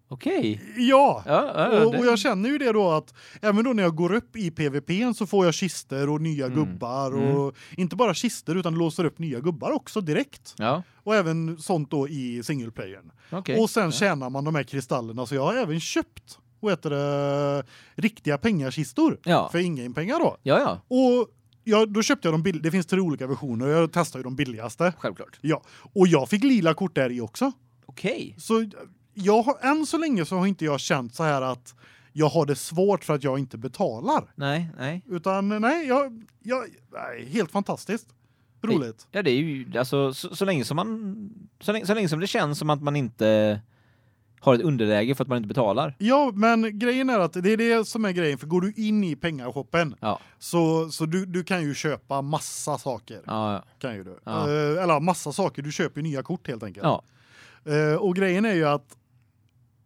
S2: Okej.
S1: Ja.
S2: Ja, ja, ja,
S1: Och,
S2: det-
S1: och jag känner ju det då att även då när jag går upp i PVP så får jag kister och nya
S2: Mm.
S1: gubbar och inte bara kister utan låser upp nya gubbar också direkt.
S2: Ja,
S1: Och även sånt då i single playern.
S2: okej.
S1: Och sen tjänar man de här kristallerna så jag har även köpt vad heter det riktiga pengakistor
S2: Ja.
S1: för ingen pengar då.
S2: Ja, ja,
S1: Och jag då köpte jag de bill det finns tre olika versioner och jag testade ju de billigaste.
S2: självklart.
S1: Ja, och jag fick lila kort där i också.
S2: Okej.
S1: Så jag har än så länge så har inte jag känt så här att jag har det svårt för att jag inte betalar
S2: Nej, nej.
S1: utan nej, jag jag nej, helt fantastiskt. Roligt.
S2: Ja, det är ju alltså så, så länge som man så länge, så länge som det känns som att man inte har ett underläge för att man inte betalar.
S1: Ja, men grejen är att det är det som är grejen för går du in i pengashoppen
S2: Ja.
S1: så så du du kan ju köpa massa saker
S2: Ja, ja.
S1: kan ju du.
S2: Ja.
S1: Eh, eller massa saker, du köper ju nya kort helt enkelt.
S2: ja.
S1: Eh, och grejen är ju att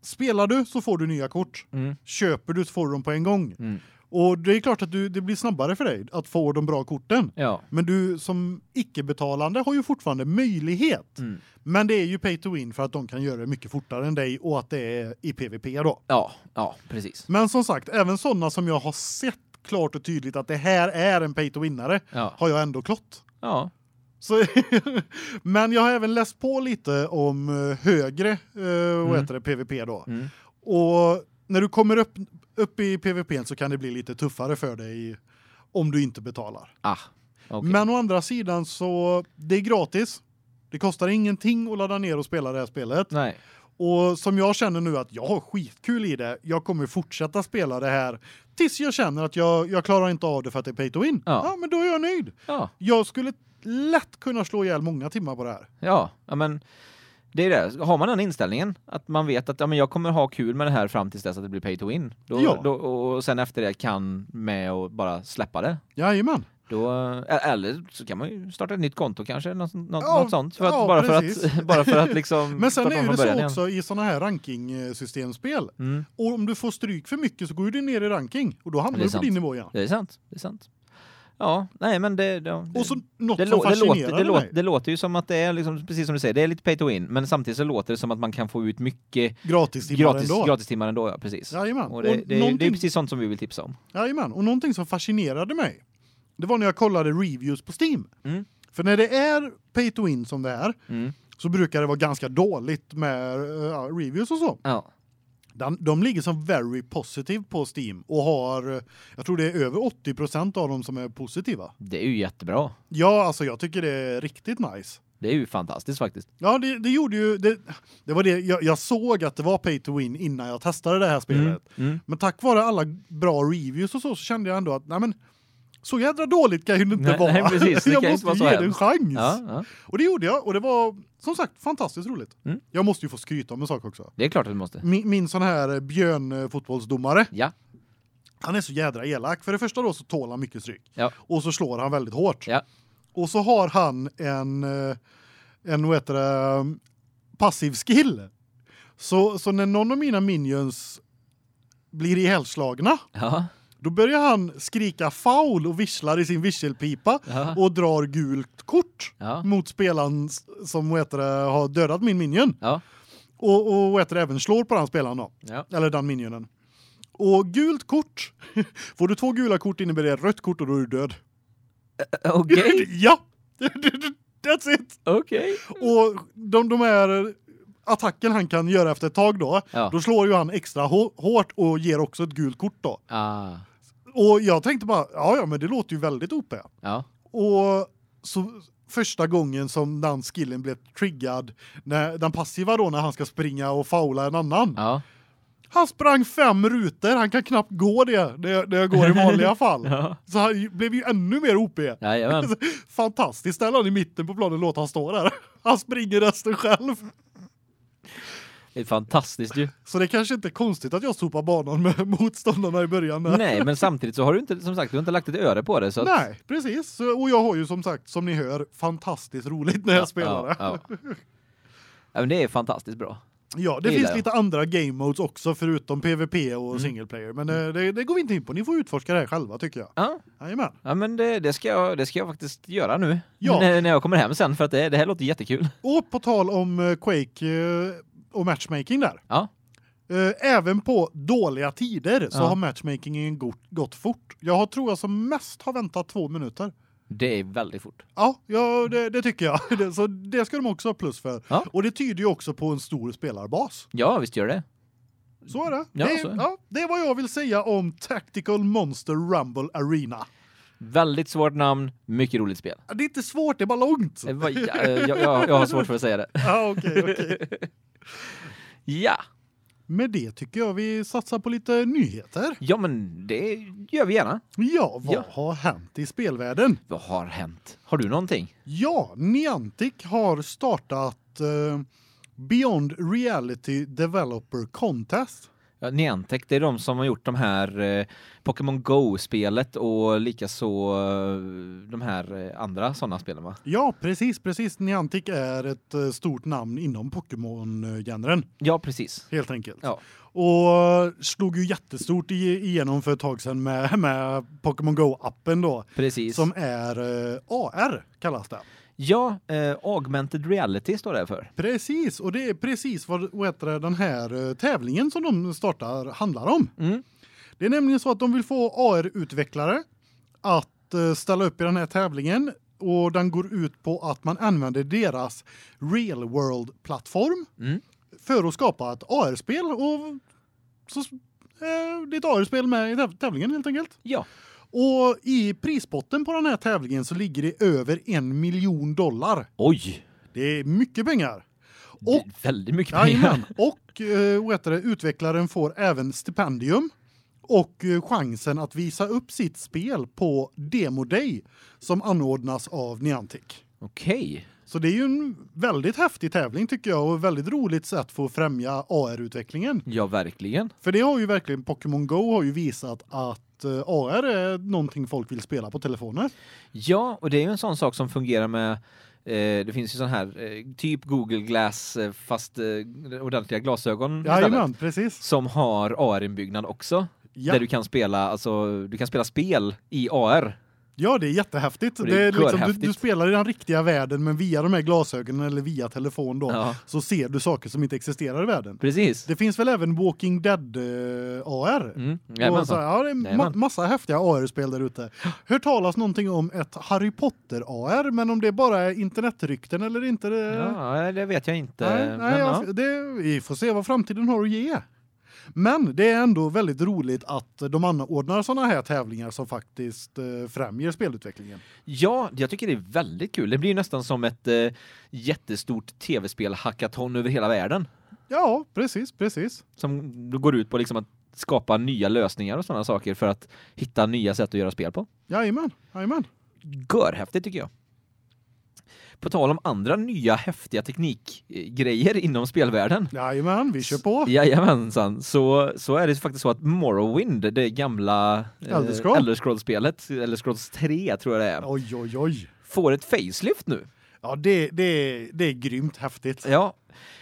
S1: spelar du så får du nya kort.
S2: Mm.
S1: Köper du så får du dem på en gång.
S2: Mm.
S1: Och det är klart att du det blir snabbare för dig att få de bra korten.
S2: Ja.
S1: Men du som icke-betalande har ju fortfarande möjlighet.
S2: Mm.
S1: Men det är ju pay to win för att de kan göra det mycket fortare än dig och att det är i PVP då.
S2: Ja, ja, precis.
S1: Men som sagt, även sådana som jag har sett klart och tydligt att det här är en pay to winnare
S2: Ja.
S1: har jag ändå klott.
S2: Ja.
S1: Så men jag har även läst på lite om eh, högre eh, vad
S2: Mm.
S1: heter det PVP då.
S2: Mm.
S1: Och när du kommer upp upp i PVP så kan det bli lite tuffare för dig om du inte betalar.
S2: Ah. Okej.
S1: Men å andra sidan så det är gratis. Det kostar ingenting att ladda ner och spela det här spelet.
S2: Nej.
S1: Och som jag känner nu att jag har skitkul i det. Jag kommer fortsätta spela det här tills jag känner att jag jag klarar inte av det för att det är pay to win.
S2: Ja.
S1: ja men då är jag nöjd.
S2: Ja.
S1: Jag skulle lätt kunna slå ihjäl många timmar på det här.
S2: Ja, ja men det är det. Har man den inställningen att man vet att ja, men jag kommer ha kul med det här fram tills dess att det blir pay to win. Då,
S1: Ja.
S2: då, och sen efter det kan med och bara släppa det.
S1: Jajamän.
S2: Då, eh, eller så kan man ju starta ett nytt konto kanske, något, något,
S1: Ja,
S2: något sånt. För att,
S1: ja,
S2: bara, för
S1: precis.
S2: att, bara för att liksom
S1: Men sen
S2: starta
S1: är ju
S2: om från
S1: det så
S2: början igen.
S1: också i sådana här rankingsystemspel.
S2: Mm,
S1: Och om du får stryk för mycket så går du ner i ranking och då hamnar
S2: Det är
S1: du på
S2: sant.
S1: din nivå igen.
S2: det är sant. Det är sant. Ja, nej men det... det
S1: Och så något
S2: det,
S1: som
S2: lå- det,
S1: fascinerade
S2: låter, det, låter,
S1: mig.
S2: det låter ju som att det är, liksom, precis som du säger, det är lite pay to win. Men samtidigt så låter det som att man kan få ut mycket
S1: Gratis timmar
S2: gratis,
S1: ändå.
S2: gratistimmar ändå. Ja, precis.
S1: Jajamän.
S2: Och det, det, är- det
S1: någonting-
S2: är precis sånt som vi vill tipsa om.
S1: Jajamän, och någonting som fascinerade mig. Det var när jag kollade reviews på Steam.
S2: Mm.
S1: För när det är pay to win som det är
S2: Mm.
S1: så brukar det vara ganska dåligt med eh, ja, reviews och så.
S2: Ja.
S1: Den, de ligger som very positive på Steam och har eh, jag tror det är över 80 av dem som är positiva.
S2: Det är ju jättebra.
S1: Ja, alltså jag tycker det är riktigt nice.
S2: Det är ju fantastiskt faktiskt.
S1: Ja, det, det gjorde ju det, det var det jag, jag såg att det var pay to win innan jag testade det här spelet.
S2: Mm. Mm.
S1: Men tack vare alla bra reviews och så så kände jag ändå att nej men så jädra dåligt kan ju inte
S2: Nej,
S1: vara.
S2: nej, precis. Det
S1: jag
S2: kan ju
S1: måste ge
S2: inte vara så
S1: det en
S2: hemskt.
S1: chans.
S2: Ja, ja.
S1: Och det gjorde jag och det var som sagt fantastiskt roligt.
S2: Mm.
S1: Jag måste ju få skryta om en sak också.
S2: Det är klart att du måste.
S1: Min, min sån här björnfotbollsdomare,
S2: Ja,
S1: han är så jädra elak. För det första då så tål han mycket stryk.
S2: Ja.
S1: Och så slår han väldigt hårt.
S2: Ja.
S1: Och så har han en eh, en vad heter det, passiv skill. Så så när någon av mina minions blir ihjälslagna
S2: ja,
S1: Då börjar han skrika foul och visslar i sin visselpipa
S2: ja.
S1: och drar gult kort
S2: ja.
S1: mot spelaren s- som vad heter det, har dödat min minion.
S2: Ja.
S1: Och, och vad heter det, även slår på den spelaren då,
S2: Ja.
S1: eller den minionen. Och gult kort, får du två gula kort innebär det rött kort och då är du död.
S2: Okej, Mm.
S1: ja! That's it!
S2: okej.
S1: Och de, de här attacken han kan göra efter ett tag då,
S2: Ja.
S1: då slår ju han extra hå- hårt och ger också ett gult kort då.
S2: Ah,
S1: Och jag tänkte bara, ja ja, men det låter ju väldigt OP.
S2: ja.
S1: Och så första gången som den skillen blev triggad när den passiva då när han ska springa och faula en annan.
S2: Ja.
S1: Han sprang fem rutor, han kan knappt gå det det, det går i vanliga fall.
S2: Ja.
S1: Så han blev ju ännu mer OP.
S2: Jajamän.
S1: Fantastiskt, ställa han i mitten på planen och låt han stå där. Han springer resten själv.
S2: Det är fantastiskt ju.
S1: Så det kanske inte är konstigt att jag sopar banan med motståndarna i början. där.
S2: Nej, men samtidigt så har du inte, som sagt, du har inte lagt ett öre på det. Så att,
S1: Nej, precis. Så- Och jag har ju som sagt, som ni hör, fantastiskt roligt när jag spelar det.
S2: Ja, ja. ja, men det är fantastiskt bra.
S1: Ja, det
S2: Det Mm.
S1: finns
S2: gillar jag.
S1: lite andra game modes också förutom PVP och single player, men eh, det, det går vi inte in på. Ni får utforska det här själva tycker jag.
S2: Ja,
S1: Jajamän.
S2: ja men det, det, ska jag, det ska jag faktiskt göra nu.
S1: Ja.
S2: När, när jag kommer hem sen, för att det, det här låter jättekul.
S1: Och på tal om eh, Quake eh, och matchmaking där.
S2: Ja.
S1: Eh, Även på dåliga tider så
S2: Ja.
S1: har matchmakingen gått, gått fort. Jag har, tror jag som mest har väntat två minuter.
S2: Det är väldigt fort.
S1: Ja, ja det, det tycker jag. Det, så det ska de också ha plus för.
S2: Ja.
S1: Och det tyder ju också på en stor spelarbas.
S2: Ja, visst gör det.
S1: Så är det.
S2: Ja,
S1: det,
S2: så är det.
S1: Ja, det är vad jag vill säga om Tactical Monster Rumble Arena.
S2: Väldigt svårt namn, mycket roligt spel.
S1: Det är inte svårt, det är bara långt.
S2: Det var- ja, eh, Jag, jag, jag har svårt för att säga det.
S1: Ja, okej, okej.
S2: Ja,
S1: Med det tycker jag vi satsar på lite nyheter.
S2: ja men det gör vi gärna.
S1: Ja, vad
S2: Ja.
S1: har hänt i spelvärlden?
S2: Vad har hänt? Har du någonting?
S1: Ja, Niantic har startat eh, Beyond Reality Developer Contest.
S2: Ja, Niantic, det är de som har gjort de här eh, Pokémon Go-spelet och likaså eh, de här eh, andra sådana spelen va?
S1: Ja, precis, precis. Niantic är ett eh, stort namn inom Pokémon-genren,
S2: Ja, precis.
S1: helt enkelt.
S2: Ja.
S1: Och slog ju jättestort i- igenom för ett tag sedan med, med Pokémon Go-appen då,
S2: Precis.
S1: som är eh, AR kallas det.
S2: Ja, eh, augmented reality står det för.
S1: Precis, och det är precis vad vad heter det, den här eh, tävlingen som de startar handlar om.
S2: Mm.
S1: Det är nämligen så att de vill få AR-utvecklare att eh, ställa upp i den här tävlingen och den går ut på att man använder deras real world plattform
S2: Mm.
S1: för att skapa ett AR-spel och så eh, det är ett AR-spel med i täv- tävlingen helt enkelt.
S2: Ja,
S1: Och i prispotten på den här tävlingen så ligger det över en miljon dollar.
S2: oj!
S1: Det är mycket pengar.
S2: Det är väldigt mycket pengar.
S1: Jajamän. Och eh, vad heter det, utvecklaren får även stipendium och eh, chansen att visa upp sitt spel på Demo Day som anordnas av Niantic.
S2: Okej.
S1: Så det är ju en väldigt häftig tävling tycker jag och ett väldigt roligt sätt för att främja AR-utvecklingen.
S2: Ja, verkligen.
S1: För det har ju verkligen Pokémon Go har ju visat att eh, AR är någonting folk vill spela på telefoner.
S2: Ja, och det är ju en sån sak som fungerar med eh, det finns ju sån här eh, typ Google Glass eh, fast eh, ordentliga glasögon
S1: Jajamän, precis.
S2: som har AR-inbyggnad också.
S1: Ja.
S2: Där du kan spela alltså du kan spela spel i AR.
S1: Ja, det är jättehäftigt.
S2: Och
S1: Det
S2: det
S1: är
S2: är
S1: liksom, du,
S2: görhäftigt.
S1: du spelar i den riktiga världen men via de här glasögonen eller via telefon då
S2: Ja.
S1: så ser du saker som inte existerar i världen.
S2: Precis.
S1: Det finns väl även Walking Dead eh, AR.
S2: Mm.
S1: och så,
S2: Jajamensan.
S1: ja, det är ma
S2: Jajamän.
S1: massa häftiga AR-spel där ute. Hört talas någonting om ett Harry Potter AR, men om det bara är internetrykten eller inte det
S2: Ja, det vet jag inte.
S1: Nej,
S2: men,
S1: nej
S2: ja.
S1: jag, det, vi får se vad framtiden har att ge. Men det är ändå väldigt roligt att de anordnar såna här tävlingar som faktiskt eh, främjer spelutvecklingen.
S2: ja, jag tycker det är väldigt kul. Det blir ju nästan som ett eh, jättestort tv-spel hackathon över hela världen
S1: Ja, precis, precis.
S2: som går ut på liksom att skapa nya lösningar och sådana saker för att hitta nya sätt att göra spel på.
S1: Jajamän, jajamän.
S2: görhäftigt tycker jag. På tal om andra nya häftiga teknikgrejer inom spelvärlden.
S1: Jajamän, vi kör på.
S2: Jajamensan, så, så är det faktiskt så att Morrowind, det gamla eh,
S1: Elder Scroll.
S2: Elder Scrolls-spelet, Elder Scrolls 3 tror jag det är,
S1: Oj, oj, oj.
S2: får ett facelift nu.
S1: Ja, det, det, det är grymt häftigt.
S2: Ja,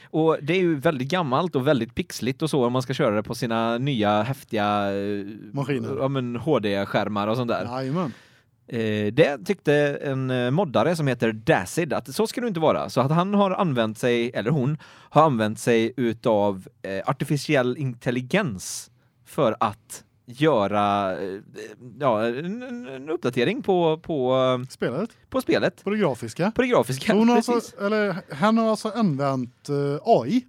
S2: och det är ju väldigt gammalt och väldigt pixligt och så om man ska köra det på sina nya häftiga eh,
S1: Maskiner.
S2: Ja, men HD-skärmar och sånt där.
S1: Jajamän.
S2: Eh, det tyckte en eh, moddare som heter Dacid att så ska det inte vara. Så att han har använt sig, eller hon, har använt sig utav eh, artificiell intelligens för att göra eh, ja, en, en- en uppdatering på, på, eh,
S1: Spelet,
S2: på spelet,
S1: på det grafiska.
S2: på det grafiska.
S1: Så Hon har
S2: precis.
S1: alltså, eller, han har alltså använt eh, AI.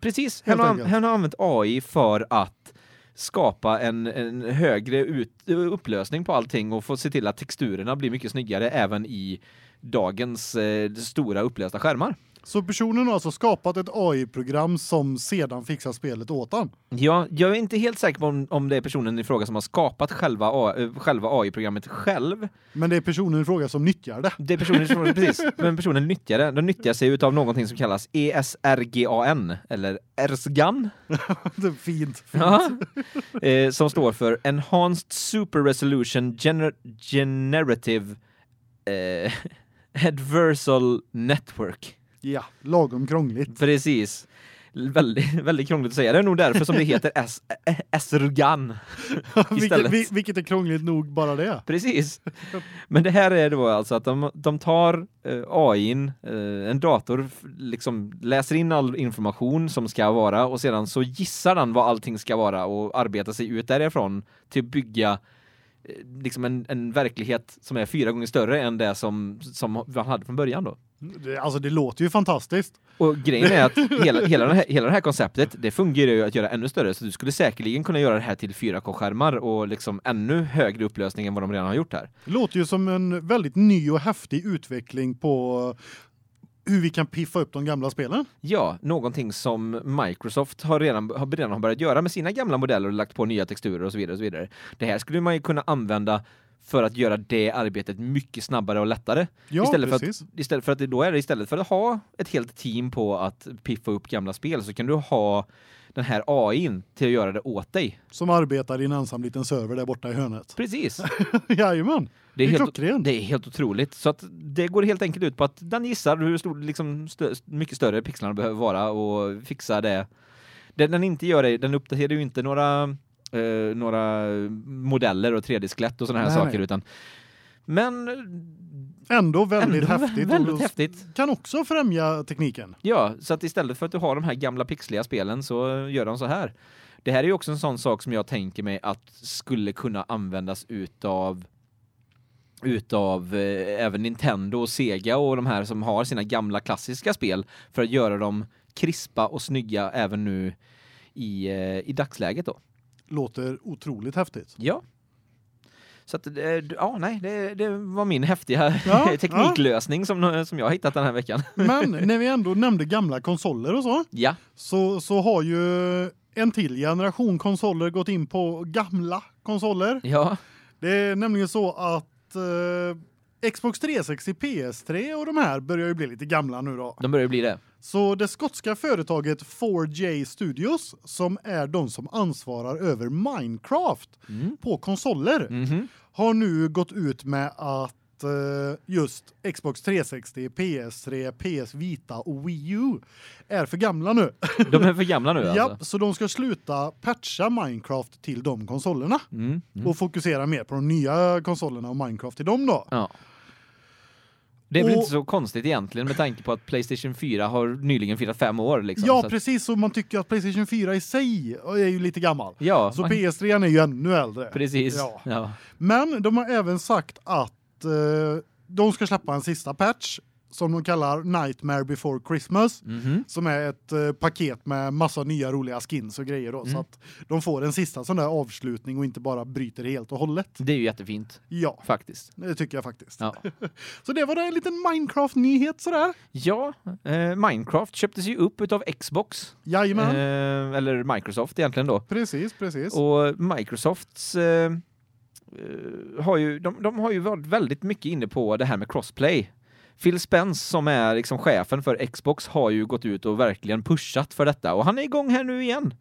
S2: precis.
S1: helt
S2: Han, har,
S1: enkelt.
S2: han har använt AI för att skapa en, en högre ut, upplösning på allting och få se till att texturerna blir mycket snyggare även i dagens eh, stora upplösta skärmar.
S1: Så personen har alltså skapat ett AI-program som sedan fixar spelet åt han.
S2: Ja, jag är inte helt säker på om, om det är personen i fråga som har skapat själva, A- eh, själva AI-programmet själv.
S1: Men det är personen i fråga som nyttjar det.
S2: Det är personen som, precis, men personen nyttjar det. Den nyttjar sig utav någonting som kallas E ESRGAN, eller ERSGAN,
S1: det är fint.
S2: ja, eh, som står för Enhanced Super Resolution Gener- Generative eh, Adversal Network.
S1: Ja, lagom krångligt.
S2: Precis. Väldigt, väldigt krångligt att säga. Det är nog därför som det heter S- eh, Ä- Ä- Esrugan.
S1: vilket,
S2: Istället.
S1: vil- vilket är krångligt nog bara det.
S2: Precis. Men det här är då alltså att de, de tar eh, AIn, eh, en dator, f- liksom läser in all information som ska vara och sedan så gissar den vad allting ska vara och arbetar sig ut därifrån till att bygga eh, liksom en, en verklighet som är fyra gånger större än det som, som man hade från början då.
S1: Det- Alltså det låter ju fantastiskt.
S2: Och grejen är att hela, hela, den här, hela det här konceptet, det fungerar ju att göra ännu större, så du skulle säkerligen kunna göra det här till 4K-skärmar och liksom ännu högre upplösning än vad de redan har gjort här.
S1: Det låter ju som en väldigt ny och häftig utveckling på hur vi kan piffa upp de gamla spelen.
S2: Ja, någonting som Microsoft har redan, har redan har börjat göra med sina gamla modeller och lagt på nya texturer och så vidare. Och så vidare. Det här skulle man ju kunna använda för att göra det arbetet mycket snabbare och lättare.
S1: Ja,
S2: istället, för
S1: precis.
S2: att, istället för att det då är det istället för att ha ett helt team på att piffa upp gamla spel så kan du ha den här AIn till att göra det åt dig.
S1: Som arbetar i en ensam liten server där borta i hörnet.
S2: Precis.
S1: Jajamän.
S2: Det är, helt,
S1: klockrent.
S2: det är helt otroligt. Så att det går helt enkelt ut på att den gissar hur stor, liksom, stö, mycket större pixlarna behöver vara och fixar det. Det den inte gör är, den uppdaterar ju inte några, eh, några modeller och 3D-skelett och sådana här
S1: Nej,
S2: saker
S1: nej.
S2: utan men
S1: Ändå väldigt
S2: ändå
S1: häftigt. och
S2: Väldigt
S1: då
S2: häftigt.
S1: Kan också främja tekniken.
S2: Ja, så att istället för att du har de här gamla pixliga spelen så gör de så här. Det här är ju också en sån sak som jag tänker mig att skulle kunna användas utav utav eh, även Nintendo och Sega och de här som har sina gamla klassiska spel för att göra dem krispa och snygga även nu i eh, i dagsläget då.
S1: Låter otroligt häftigt.
S2: Ja. Så att det- ja nej det det var min häftiga
S1: Ja,
S2: tekniklösning som som jag har hittat den här veckan.
S1: Men när vi ändå nämnde gamla konsoler och så,
S2: Ja,
S1: så, så har ju en till generation konsoler gått in på gamla konsoler.
S2: ja,
S1: Det är nämligen så att eh, Xbox 360, PS3 och de här börjar ju bli lite gamla nu då.
S2: de börjar ju bli det.
S1: Så det skotska företaget 4J Studios som är de som ansvarar över Minecraft
S2: Mm.
S1: på konsoler
S2: Mhm.
S1: har nu gått ut med att eh, just Xbox 360, PS3, PS Vita och Wii U är för gamla nu.
S2: De är för gamla nu alltså?
S1: Japp, så de ska sluta patcha Minecraft till de konsolerna
S2: Mm. Mm.
S1: och fokusera mer på de nya konsolerna och Minecraft till dem då.
S2: Ja. Det är väl
S1: Och-
S2: inte så konstigt egentligen med tanke på att Playstation 4 har nyligen firat fem år liksom.
S1: Ja,
S2: så att,
S1: precis så man tycker att PlayStation 4 i sig är ju lite gammal.
S2: ja
S1: Så
S2: man-
S1: PS3 är ju ännu äldre.
S2: precis.
S1: Ja.
S2: Ja.
S1: Men de har även sagt att eh, de ska släppa en sista patch som de kallar Nightmare before Christmas
S2: Mhm.
S1: som är ett eh, paket med massa nya roliga skins och grejer då så
S2: Mm.
S1: att de får en sista sån där avslutning och inte bara bryter helt och hållet.
S2: Det är ju jättefint
S1: Ja,
S2: faktiskt.
S1: det tycker jag faktiskt.
S2: Ja,
S1: Så det var då en liten Minecraft nyhet så där.
S2: ja eh, Minecraft köptes ju upp utav Xbox.
S1: Jajamän.
S2: Eh, eller Microsoft egentligen då.
S1: Precis, precis.
S2: Och Microsofts eh, eh, har ju, de, de har ju varit väldigt mycket inne på det här med crossplay. Phil Spence som är liksom chefen för Xbox har ju gått ut och verkligen pushat för detta och han är igång här nu igen.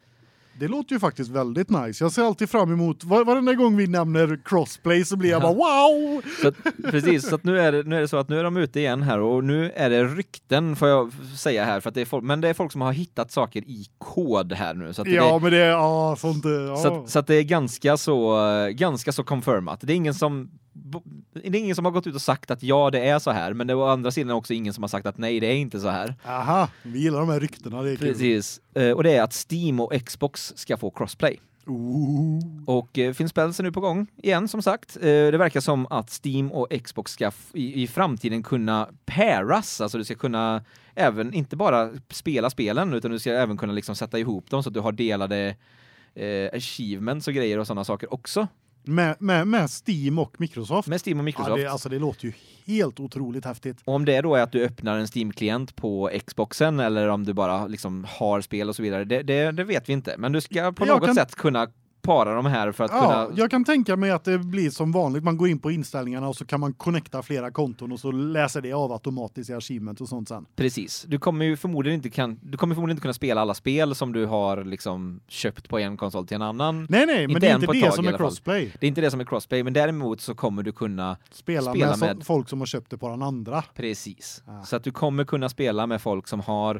S1: Det låter ju faktiskt väldigt nice. Jag ser alltid fram emot var, varenda gång vi nämner crossplay så blir jag bara
S2: Ja.
S1: wow.
S2: Så att, precis, så att nu är, det, nu är det så att nu är de ute igen här och nu är det rykten får jag säga här för att det är folk, men det är folk som har hittat saker i kod här nu så att det,
S1: Ja, men det ja, sånt eh, ja.
S2: Så, att, så att det är ganska så, eh, ganska så confirmat. Det är, ingen som, bo- det är ingen som har gått ut och sagt att ja, det är så här, men det var å andra sidan också ingen som har sagt att nej, det är inte så här.
S1: Aha, vi gillar de här ryktena, det är kul.
S2: Precis. Eh, Och det är att Steam och Xbox ska få crossplay.
S1: Ooh.
S2: Och eh, Phil Spencer är nu på gång igen, som sagt. Eh, Det verkar som att Steam och Xbox ska f- i, i framtiden kunna pairas, alltså du ska kunna även, inte bara spela spelen, utan du ska även kunna liksom sätta ihop dem så att du har delade eh, achievements och grejer och sådana saker också.
S1: Med, med, med Steam och Microsoft.
S2: Med Steam och Microsoft.
S1: Ja, det, alltså det låter ju helt otroligt häftigt.
S2: Och om det då är att du öppnar en Steam-klient på Xboxen eller om du bara liksom har spel och så vidare, det, det, det vet vi inte. Men du ska på
S1: Jag
S2: något
S1: kan-
S2: sätt kunna para de här för att
S1: Ja,
S2: kunna...
S1: jag kan tänka mig att det blir som vanligt. Man går in på inställningarna och så kan man connecta flera konton och så läser det av automatiskt i achievement och sånt sen.
S2: Precis. Du kommer ju förmodligen inte, kan... du kommer förmodligen inte kunna spela alla spel som du har liksom köpt på en konsol till en annan.
S1: Nej, nej, men
S2: Inte
S1: det är
S2: än
S1: inte
S2: på ett
S1: det
S2: tag
S1: som
S2: i
S1: är
S2: alla fall.
S1: crossplay.
S2: Det är inte det som är crossplay, men däremot så kommer du kunna...
S1: Spela,
S2: Spela
S1: med, så-
S2: med.
S1: folk som har köpt det på den andra.
S2: Precis.
S1: Ah.
S2: Så att du kommer kunna spela med folk som har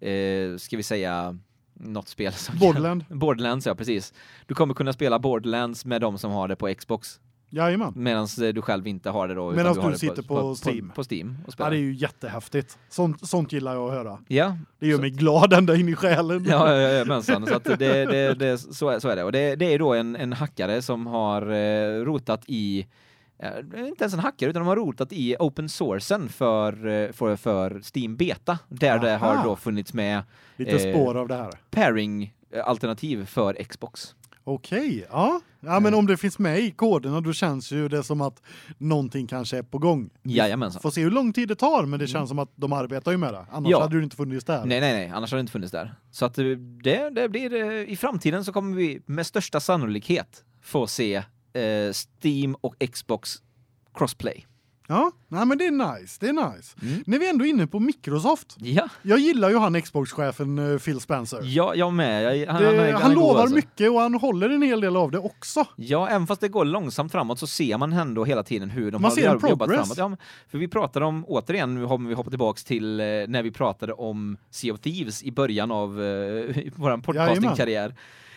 S2: eh, ska vi säga, något spel som...
S1: Borderland.
S2: Borderlands, ja precis. Du kommer kunna spela Borderlands med de som har det på Xbox,
S1: Jajamän.
S2: medan eh, du själv inte har det då. utan
S1: Medans
S2: har
S1: du
S2: det
S1: sitter på Steam.
S2: På, Steam och
S1: Ja,
S2: spelar.
S1: det är ju jättehäftigt. Sånt, sånt gillar jag att höra.
S2: Ja,
S1: Det gör
S2: Så-
S1: mig glad ända in i själen.
S2: Ja, ja, ja, mensan. Så att det, det, det, så, är, så är det. Och det, det är då en, en hackare som har eh, rotat i eh, inte ens en hackare, utan de har rotat i open sourcen för, eh, för, för Steam Beta, där det
S1: Aha.
S2: har då funnits med
S1: Lite
S2: eh,
S1: spår av det här.
S2: pairing-alternativ för Xbox.
S1: Okej, ja. ja. men
S2: Eh.
S1: om det finns med i koderna då känns ju det som att någonting kanske är på gång.
S2: Jajamensan.
S1: Får se hur lång tid det tar, men det känns som att de arbetar ju med det. Annars
S2: Mm. Ja.
S1: hade det inte funnits där.
S2: Nej, nej, nej, annars hade det inte funnits där. Så att eh, det, det blir, eh, i framtiden så kommer vi med största sannolikhet få se eh, Steam och Xbox crossplay.
S1: Ja, nej men det är nice, det är nice.
S2: Mm.
S1: När vi ändå är inne på Microsoft.
S2: Ja.
S1: Jag gillar ju han Xbox-chefen eh, Phil Spencer.
S2: Ja, jag med. Jag, han,
S1: det,
S2: han,
S1: han
S2: är- han är god,
S1: lovar
S2: alltså.
S1: mycket och han håller en hel del av det också.
S2: Ja, även fast det går långsamt framåt så ser man ändå hela tiden hur de
S1: Man
S2: har
S1: ser en
S2: jobbat
S1: progress.
S2: framåt. Ja, men- för vi pratade om, återigen, nu hoppar vi hoppar tillbaks till eh, när vi pratade om Sea of Thieves i början av eh, vår podcastingkarriär.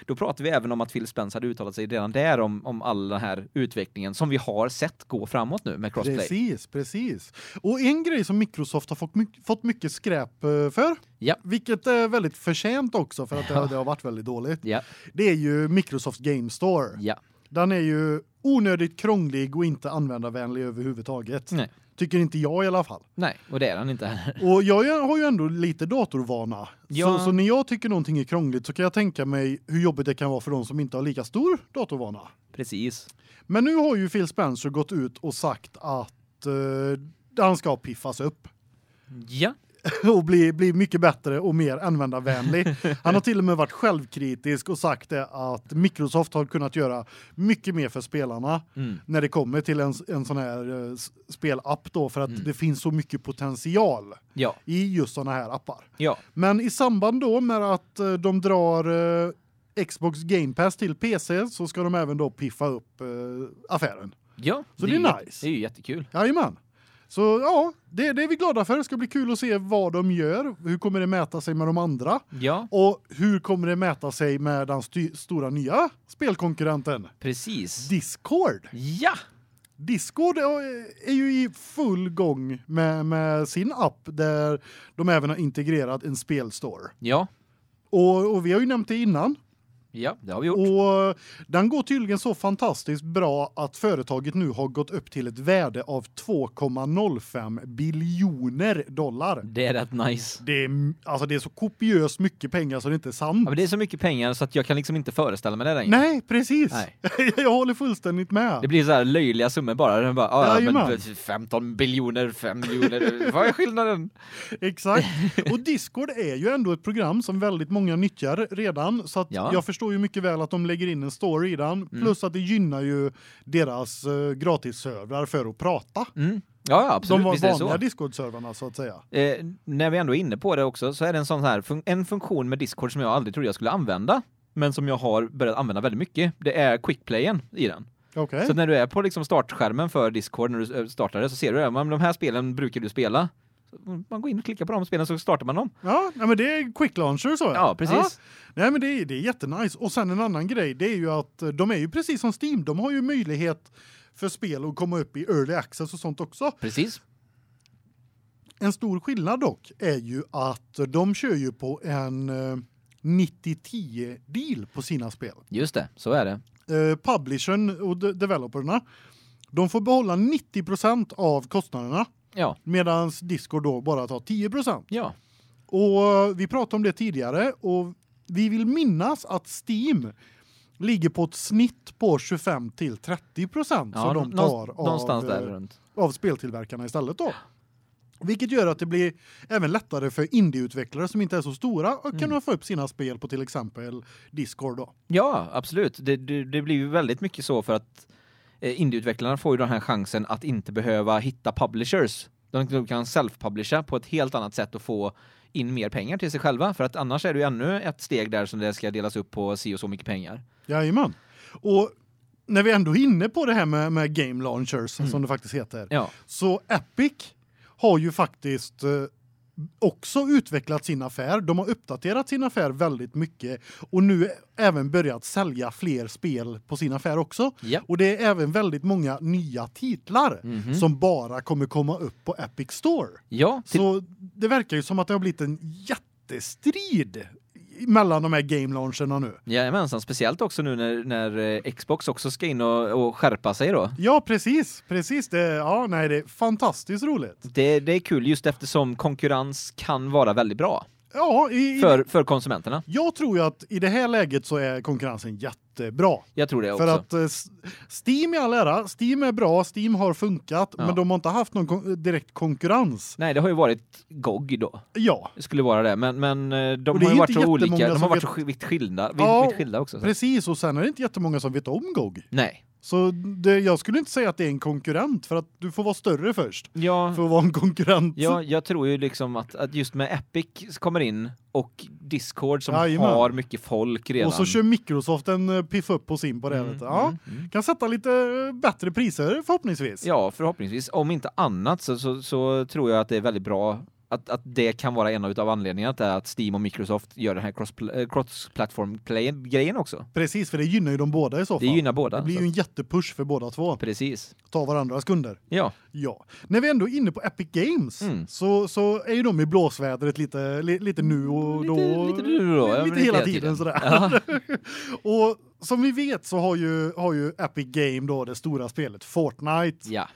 S2: Då pratade vi även om att Phil Spence hade uttalat sig redan där om, om all den här utvecklingen som vi har sett gå framåt nu med crossplay.
S1: Precis, precis. Och en grej som Microsoft har fått, my- fått mycket skräp eh, för,
S2: Ja.
S1: vilket är väldigt förtjänt också för att det, det har varit väldigt dåligt,
S2: Ja,
S1: det är ju Microsoft Game Store.
S2: ja.
S1: Den är ju onödigt krånglig och inte användarvänlig överhuvudtaget.
S2: Nej.
S1: Tycker inte jag i alla fall.
S2: Nej, och det är han inte heller.
S1: Och jag är- har ju ändå lite datorvana.
S2: Ja.
S1: Så, så när jag tycker någonting är krångligt så kan jag tänka mig hur jobbigt det kan vara för de som inte har lika stor datorvana.
S2: Precis.
S1: Men nu har ju Phil Spencer gått ut och sagt att eh, han ska piffas upp
S2: Ja.
S1: och bli, bli mycket bättre och mer användarvänlig. Han har till och med varit självkritisk och sagt det att Microsoft har kunnat göra mycket mer för spelarna
S2: Mm.
S1: när det kommer till en, en sån här eh, s- spelapp då för att det finns så mycket potential
S2: Ja.
S1: i just såna här appar.
S2: Ja.
S1: Men i samband då med att eh, de drar eh, Xbox Game Pass till PC så ska de även då piffa upp eh, affären.
S2: Ja.
S1: Så
S2: ju
S1: det är
S2: jätte-
S1: nice.
S2: Det är ju jättekul.
S1: Jajamän. Så ja, det, det är vi glada för. Det ska bli kul att se vad de gör. Hur kommer det mäta sig med de andra?
S2: Ja,
S1: Och hur kommer det mäta sig med den sty- stora nya spelkonkurrenten?
S2: precis.
S1: Discord.
S2: Ja!
S1: Discord är är ju i full gång med, med sin app där de även har integrerat en spelstore.
S2: Ja.
S1: Och, och vi har ju nämnt det innan.
S2: Ja, det har vi gjort.
S1: Och den går tydligen så fantastiskt bra att företaget nu har gått upp till ett värde av 2,05 biljoner dollar.
S2: Det är rätt nice.
S1: Det är, alltså det är så kopiöst mycket pengar så det inte är sant.
S2: Ja, men det är så mycket pengar så att jag kan liksom inte föreställa mig det längre.
S1: Nej, precis.
S2: Nej.
S1: Jag håller fullständigt med.
S2: Det blir så här löjliga summor bara. Den bara ah, ja, men
S1: Jajamän.
S2: f- 15 biljoner, 5 miljoner. Vad är skillnaden?
S1: Exakt. Och Discord är ju ändå ett program som väldigt många nyttjar redan så att
S2: Ja. Mm.
S1: jag förstår ju mycket väl att de lägger in en story i den plus att det gynnar ju deras uh, gratisservrar för att prata.
S2: Mm. Ja, ja, absolut.
S1: De var
S2: Visst är det
S1: vanliga
S2: så.
S1: Discord-servrarna så att säga.
S2: Eh, när vi ändå är inne på det också så är det en sån här fun- en funktion med Discord som jag aldrig trodde jag skulle använda, men som jag har börjat använda väldigt mycket. Det är quickplayen i den.
S1: Okej.
S2: Så när du är på liksom startskärmen för Discord när du eh, startar det så ser du det. Men de här spelen brukar du spela. Så mm, Man går in och klickar på de spelen så startar man dem.
S1: Ja, nej, men det är quick launcher så jag.
S2: Ja, precis.
S1: Nej men det är det är jättenice och sen en annan grej det är ju att eh, de är ju precis som Steam, de har ju möjlighet för spel att komma upp i early access och sånt också.
S2: Precis.
S1: En stor skillnad dock är ju att de kör ju på en eh, 90-10 deal på sina spel.
S2: Just det, så är det.
S1: Eh, publishern och de developerna de får behålla 90 av kostnaderna
S2: Ja,
S1: medan Discord då bara tar 10
S2: ja.
S1: Och eh, vi pratade om det tidigare och vi vill minnas att Steam ligger på ett snitt på 25 till 30 procent som de tar
S2: någonstans- någonstans
S1: av,
S2: där
S1: eh,
S2: runt.
S1: av speltillverkarna istället då. Vilket gör att det blir även lättare för indieutvecklare som inte är så stora att
S2: Mm.
S1: kunna få upp sina spel på till exempel Discord då.
S2: Ja, absolut. Det, det, det blir ju väldigt mycket så för att eh, indieutvecklarna får ju den här chansen att inte behöva hitta publishers. De de kan self-publisha på ett helt annat sätt och få in mer pengar till sig själva. För att annars är det ju ännu ett steg där som det ska delas upp på si och så mycket pengar.
S1: Jajamän. Och när vi ändå är inne på det här med, med game
S2: Mm.
S1: launchers som det faktiskt heter.
S2: Ja,
S1: Så Epic har ju faktiskt eh, också utvecklat sin affär. De har uppdaterat sin affär väldigt mycket och nu även börjat sälja fler spel på sin affär också.
S2: Ja.
S1: Och det är även väldigt många nya titlar
S2: Mhm.
S1: som bara kommer komma upp på Epic Store.
S2: Ja, till,
S1: Så det verkar ju som att det har blivit en jättestrid mellan de här game launcherna nu.
S2: jajamensan, speciellt också nu när, när eh, Xbox också ska in och, och skärpa sig då.
S1: Ja, precis. Precis. Det ja, nej, det är fantastiskt roligt.
S2: Det, det är kul just eftersom konkurrens kan vara väldigt bra
S1: Ja, i, i,
S2: för, för konsumenterna.
S1: jag tror ju att i det här läget så är konkurrensen jättebra.
S2: Jag tror det också.
S1: För att eh, S- Steam i all ära, Steam är bra, Steam har funkat,
S2: Ja.
S1: men de har inte haft någon kon direkt konkurrens.
S2: Nej, det har ju varit GOG då.
S1: Ja,
S2: Det skulle vara det, men men eh, de
S1: Och det
S2: har
S1: är
S2: ju varit
S1: inte
S2: så olika.
S1: jättemånga
S2: De har
S1: som
S2: varit så vitt skilda, vitt,
S1: Ja,
S2: vitt skilda också. Så.
S1: precis. Och sen är det inte jättemånga som vet om GOG.
S2: Nej.
S1: Så det, jag skulle inte säga att det är en konkurrent, för att du får vara större först
S2: Ja,
S1: för att vara en konkurrent.
S2: Mm. Ja, jag tror ju liksom att, att just med Epic kommer in och Discord som
S1: Jajamän.
S2: har mycket folk redan.
S1: och så kör Microsoft en eh, piff upp på sin på det.
S2: Mm,
S1: vet du. Ja.
S2: mm, mm.
S1: Kan sätta lite eh, bättre priser förhoppningsvis.
S2: Ja, förhoppningsvis. Om inte annat så, så, så tror jag att det är väldigt bra att, att det kan vara en av anledningarna till att Steam och Microsoft gör den här cross- eh, cross-platform-grejen också.
S1: Precis, för det gynnar ju dem båda i så
S2: Det
S1: fall.
S2: gynnar båda.
S1: det blir
S2: så
S1: ju en
S2: att-
S1: jättepush för båda två.
S2: Precis.
S1: Ta varandras kunder.
S2: Ja,
S1: Ja. När vi ändå är inne på Epic Games
S2: Mm.
S1: så, så är ju de i blåsvädret lite, li, lite nu och
S2: Lite-
S1: då.
S2: lite nu och då, ja, men
S1: Lite hela tiden, sådär. och som vi vet så har ju, har ju Epic Game då det stora spelet Fortnite.
S2: ja.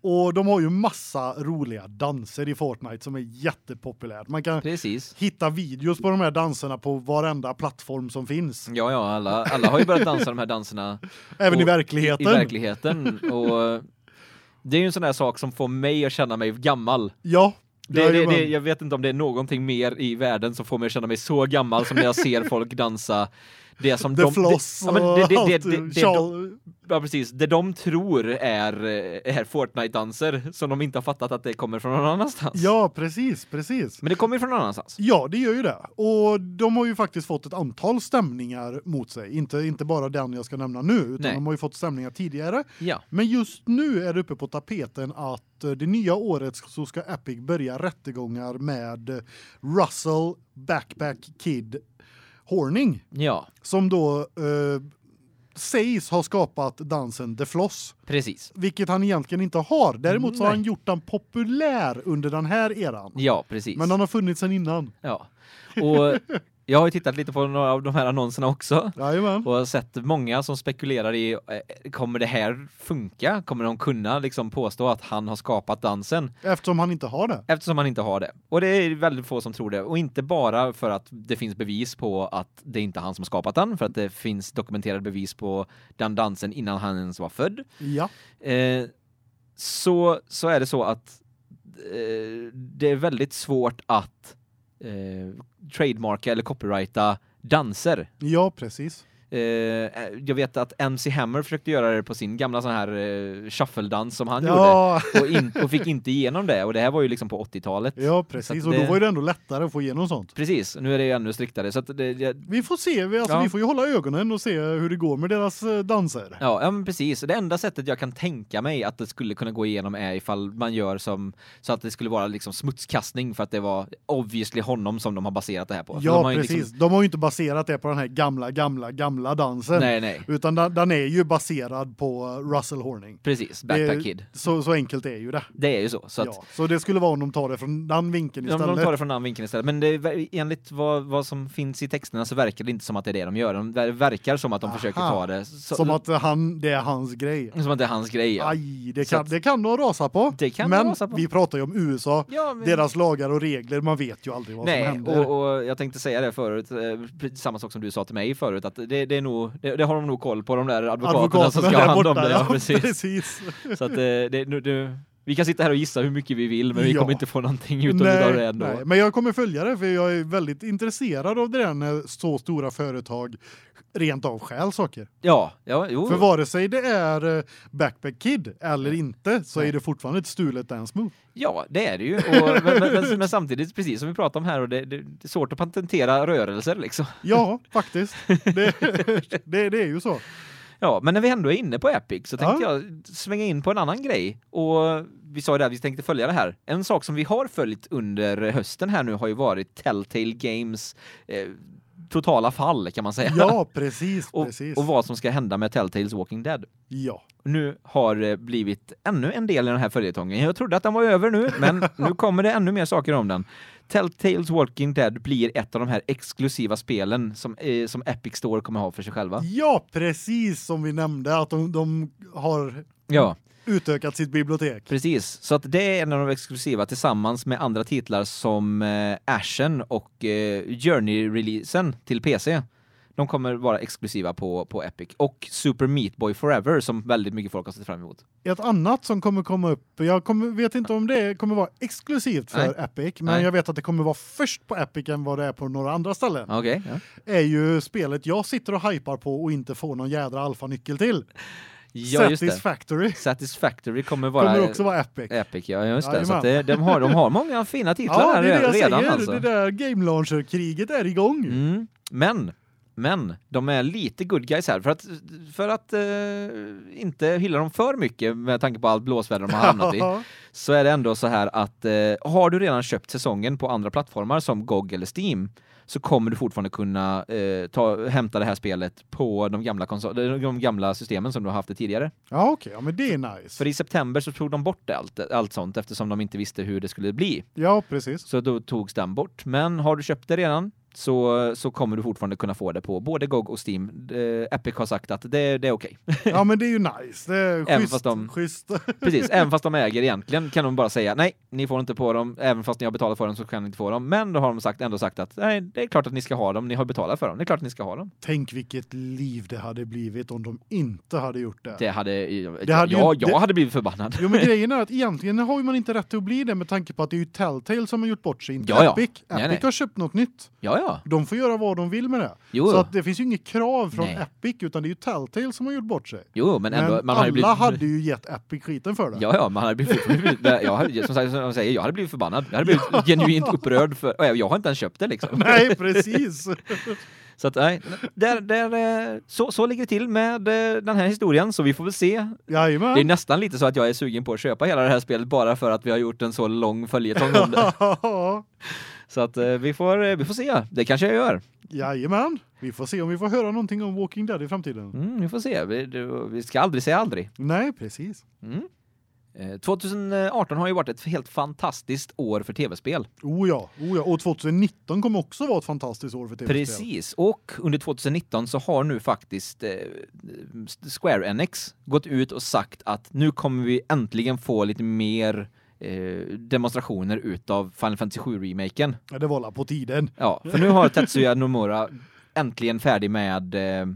S1: Och de har ju massa roliga danser i Fortnite som är jättepopulärt. Man kan
S2: precis.
S1: hitta videos på de här danserna på varenda plattform som finns.
S2: Ja, ja, alla, alla har ju börjat dansa de här danserna
S1: Även i
S2: Mm. Och i
S1: verkligheten.
S2: verkligheten. Och det är ju en sån där sak som får mig att känna mig gammal.
S1: ja.
S2: Det, det,
S1: jajamän.
S2: det, jag vet inte om det är någonting mer i världen som får mig att känna mig så gammal som när jag ser folk dansa. Det som
S1: The
S2: de,
S1: Floss
S2: det, ja, men det,
S1: och
S2: det, det,
S1: allt,
S2: det, det, de,
S1: Charles-
S2: ja, precis, det de tror är, eh, är Fortnite-danser som de inte har fattat att det kommer från någon annanstans.
S1: Ja, precis, precis.
S2: Men det kommer ju från någon annanstans.
S1: Ja, det gör ju det. Och de har ju faktiskt fått ett antal stämningar mot sig. Inte inte bara den jag ska nämna nu, utan
S2: Nej.
S1: de har ju fått stämningar tidigare.
S2: Ja.
S1: Men just nu är det uppe på tapeten att eh, det nya året så ska Epic börja rättegångar med eh, Russell Backpack Kid Horning
S2: Ja,
S1: som då eh, sägs ha skapat dansen The Floss,
S2: precis.
S1: vilket han egentligen inte har. Däremot så har
S2: Nej.
S1: han gjort den populär under den här eran.
S2: Ja, precis.
S1: Men den har funnits sedan innan.
S2: Ja. Och jag har ju tittat lite på några av de här annonserna också.
S1: Jajamän.
S2: Och jag har sett många som spekulerar i, eh, kommer det här funka? Kommer de kunna liksom påstå att han har skapat dansen?
S1: Eftersom han inte har det.
S2: Eftersom han inte har det. Och det är väldigt få som tror det. Och inte bara för att det finns bevis på att det inte är han som har skapat den. För att det finns dokumenterade bevis på den dansen innan han ens var född.
S1: Ja.
S2: Eh, så, så är det så att eh, det är väldigt svårt att eh, trademarka eller copyrighta danser.
S1: Ja, precis.
S2: Eh, jag vet att MC Hammer försökte göra det på sin gamla sån här eh, shuffle-dans som han gjorde.
S1: ja,
S2: Och, in, och fick inte igenom det. Och det här var ju liksom på 80-talet.
S1: ja,
S2: Så att
S1: precis. Och
S2: det-
S1: då var ju det ändå lättare att få igenom sånt.
S2: Precis, nu är det ju ännu striktare. Så att det, det,
S1: Vi får se, vi, alltså,
S2: Ja.
S1: vi får ju hålla ögonen och se hur det går med deras eh, danser.
S2: ja, ja, men precis. Det enda sättet jag kan tänka mig att det skulle kunna gå igenom är ifall man gör som så att det skulle vara liksom smutskastning för att det var obviously honom som de har baserat det här på. För de
S1: Ja,
S2: har ju
S1: precis.
S2: liksom-
S1: De har ju inte baserat det på den här gamla, gamla, gamla dansen.
S2: nej, nej.
S1: Utan den, den är ju baserad på eh, Russell Horning.
S2: Precis, Backpack
S1: Det-
S2: Kid.
S1: Så, så enkelt är ju det.
S2: Det är ju så. Så att
S1: ja. så det skulle vara om de tar det från den vinkeln
S2: Ja,
S1: istället.
S2: men de tar det från den vinkeln istället. Men det, är ver- enligt vad, vad som finns i texterna så verkar det inte som att det är det de gör. De, det verkar som att de
S1: Aha.
S2: försöker ta det så,
S1: Som att han, det är hans grej.
S2: som att det är hans grej. Ja.
S1: Aj, det
S2: Så
S1: kan,
S2: att-
S1: det kan nog rasa på.
S2: Det kan
S1: men
S2: rasa på.
S1: vi pratar ju om USA.
S2: Ja, men-
S1: Deras lagar och regler, man vet ju aldrig vad som
S2: Nej,
S1: händer.
S2: och, och jag tänkte säga det förut, eh, precis samma sak som du sa till mig förut, att det, det, är nog, det, det har de nog koll på, de där advokaterna som ska ha
S1: där
S2: hand om
S1: borta,
S2: det. Ja,
S1: ja,
S2: precis.
S1: precis.
S2: Så att, eh, det, nu, det, vi kan sitta här och gissa hur mycket vi vill, men vi
S1: Ja.
S2: kommer inte få någonting ut av det ändå.
S1: nej, men jag kommer följa det för jag är väldigt intresserad av det där när så stora företag rent av stjäl saker.
S2: Ja, ja, jo.
S1: För vare sig det är eh, Backpack Kid eller inte så
S2: Oh. Nej.
S1: är det fortfarande ett stulet dance move.
S2: Ja, det är det ju. Och, men, men, men, men samtidigt, precis som vi pratade om här, och det, det, det är svårt att patentera rörelser liksom.
S1: Ja, faktiskt. Det, det, det är ju så.
S2: Ja, men när vi ändå är inne på Epic så tänkte
S1: Ja.
S2: jag svänga in på en annan grej. Och vi sa ju där, vi tänkte följa det här. En sak som vi har följt under hösten här nu har ju varit Telltale Games eh, totala fall kan man säga.
S1: Ja, precis,
S2: och,
S1: precis.
S2: och vad som ska hända med Telltales Walking Dead.
S1: Ja.
S2: Nu har det blivit ännu en del i den här följetongen. Jag trodde att den var över nu, men nu kommer det ännu mer saker om den. Telltales Walking Dead blir ett av de här exklusiva spelen som, eh, som Epic Store kommer ha för sig själva.
S1: Ja, precis som vi nämnde att de, de har
S2: Ja.
S1: utökat sitt bibliotek.
S2: Precis, så att det är en av de exklusiva tillsammans med andra titlar som eh, Ashen och eh, Journey-releasen till PC. De kommer vara exklusiva på, på Epic. Och Super Meat Boy Forever som väldigt mycket folk har sett fram emot.
S1: Ett annat som kommer komma upp, jag kommer, vet inte om det kommer vara exklusivt för
S2: Nej.
S1: Epic, men
S2: Nej.
S1: jag vet att det kommer vara först på Epic än vad det är på några andra ställen.
S2: Ah, Okej. Ja.
S1: Är ju spelet jag sitter och hypar på och inte får någon jädra alfanyckel till.
S2: ja, just det.
S1: Satisfactory
S2: Satisfactory kommer vara
S1: kommer också vara Epic.
S2: Epic. Ja, just det.
S1: Jajamän.
S2: Så att det, de, har, de har många fina titlar
S1: Ja,
S2: här
S1: det är det jag
S2: redan
S1: säger.
S2: alltså.
S1: Det där game launcher kriget är igång.
S2: Mm. Men, men, de är lite good guys här. För att, för att eh, inte hylla dem för mycket med tanke på allt blåsväder de har hamnat i, så är det ändå så här att eh, har du redan köpt säsongen på andra plattformar som GOG eller Steam så kommer du fortfarande kunna eh, ta, hämta det här spelet på de gamla, konsol- de gamla systemen som du har haft det tidigare.
S1: Ja, okej, ja, men det är nice.
S2: För i september så tog de bort allt, allt sånt eftersom de inte visste hur det skulle bli.
S1: Ja, precis.
S2: Så då togs den bort. Men har du köpt det redan så, så kommer du fortfarande kunna få det på både GOG och Steam. Eh, Epic har sagt att det, det är okej.
S1: Ja, men det är ju nice. Det är
S2: Även
S1: schysst.
S2: fast de-
S1: schysst.
S2: Precis, även fast de äger egentligen kan de bara säga nej, ni får inte på dem. Även fast ni har betalat för dem så kan ni inte få dem. Men då har de sagt, ändå sagt att nej, det är klart att ni ska ha dem. Ni har betalat för dem. Det är klart att ni ska ha dem.
S1: Tänk vilket liv det hade blivit om de inte hade gjort det.
S2: Det hade, det
S1: hade ju-
S2: ja, jag
S1: det-
S2: hade blivit förbannad.
S1: Jo men grejen är att egentligen har ju man inte rätt att bli det med tanke på att det är ju Telltale som har gjort bort sig, inte
S2: Ja, ja.
S1: Epic. Epic
S2: Nej, nej.
S1: har köpt något nytt.
S2: Ja, ja.
S1: De får göra vad de vill med det.
S2: Jo,
S1: Så
S2: jo.
S1: att det finns ju inget krav från
S2: Nej.
S1: Epic utan det är ju Telltale som har gjort bort sig.
S2: jo men
S1: Men
S2: ändå. man
S1: alla
S2: hade blivit...
S1: hade ju gett Epic skiten för det.
S2: Ja, ja, man hade blivit, blivit jag hade, som sagt, som jag säger, jag hade blivit förbannad. Jag hade blivit genuint upprörd för, och jag jag har inte ens köpt det liksom.
S1: Nej, precis.
S2: Så att nej, där, där, eh, så, så ligger det till med eh, den här historien, så vi får väl se.
S1: Jajamän.
S2: Det är nästan lite så att jag är sugen på att köpa hela det här spelet bara för att vi har gjort en så lång följetong om det. Så att eh, vi får, eh, vi får se. Det kanske jag gör.
S1: Jajamän. Vi får se om vi får höra någonting om Walking Dead i framtiden.
S2: Mm, vi får se. Vi, det- vi ska aldrig säga aldrig.
S1: Nej, precis.
S2: Mm. Eh, 2018 har ju varit ett helt fantastiskt år för tv-spel.
S1: Oh ja, oh ja. Och 2019 kommer också vara ett fantastiskt år för tv-spel.
S2: Precis, och under 2019 så har nu faktiskt eh, Square Enix gått ut och sagt att nu kommer vi äntligen få lite mer eh, demonstrationer utav Final Fantasy 7-remaken.
S1: Ja, det var la på tiden.
S2: Ja, för nu har Tetsuya Nomura äntligen färdig med eh,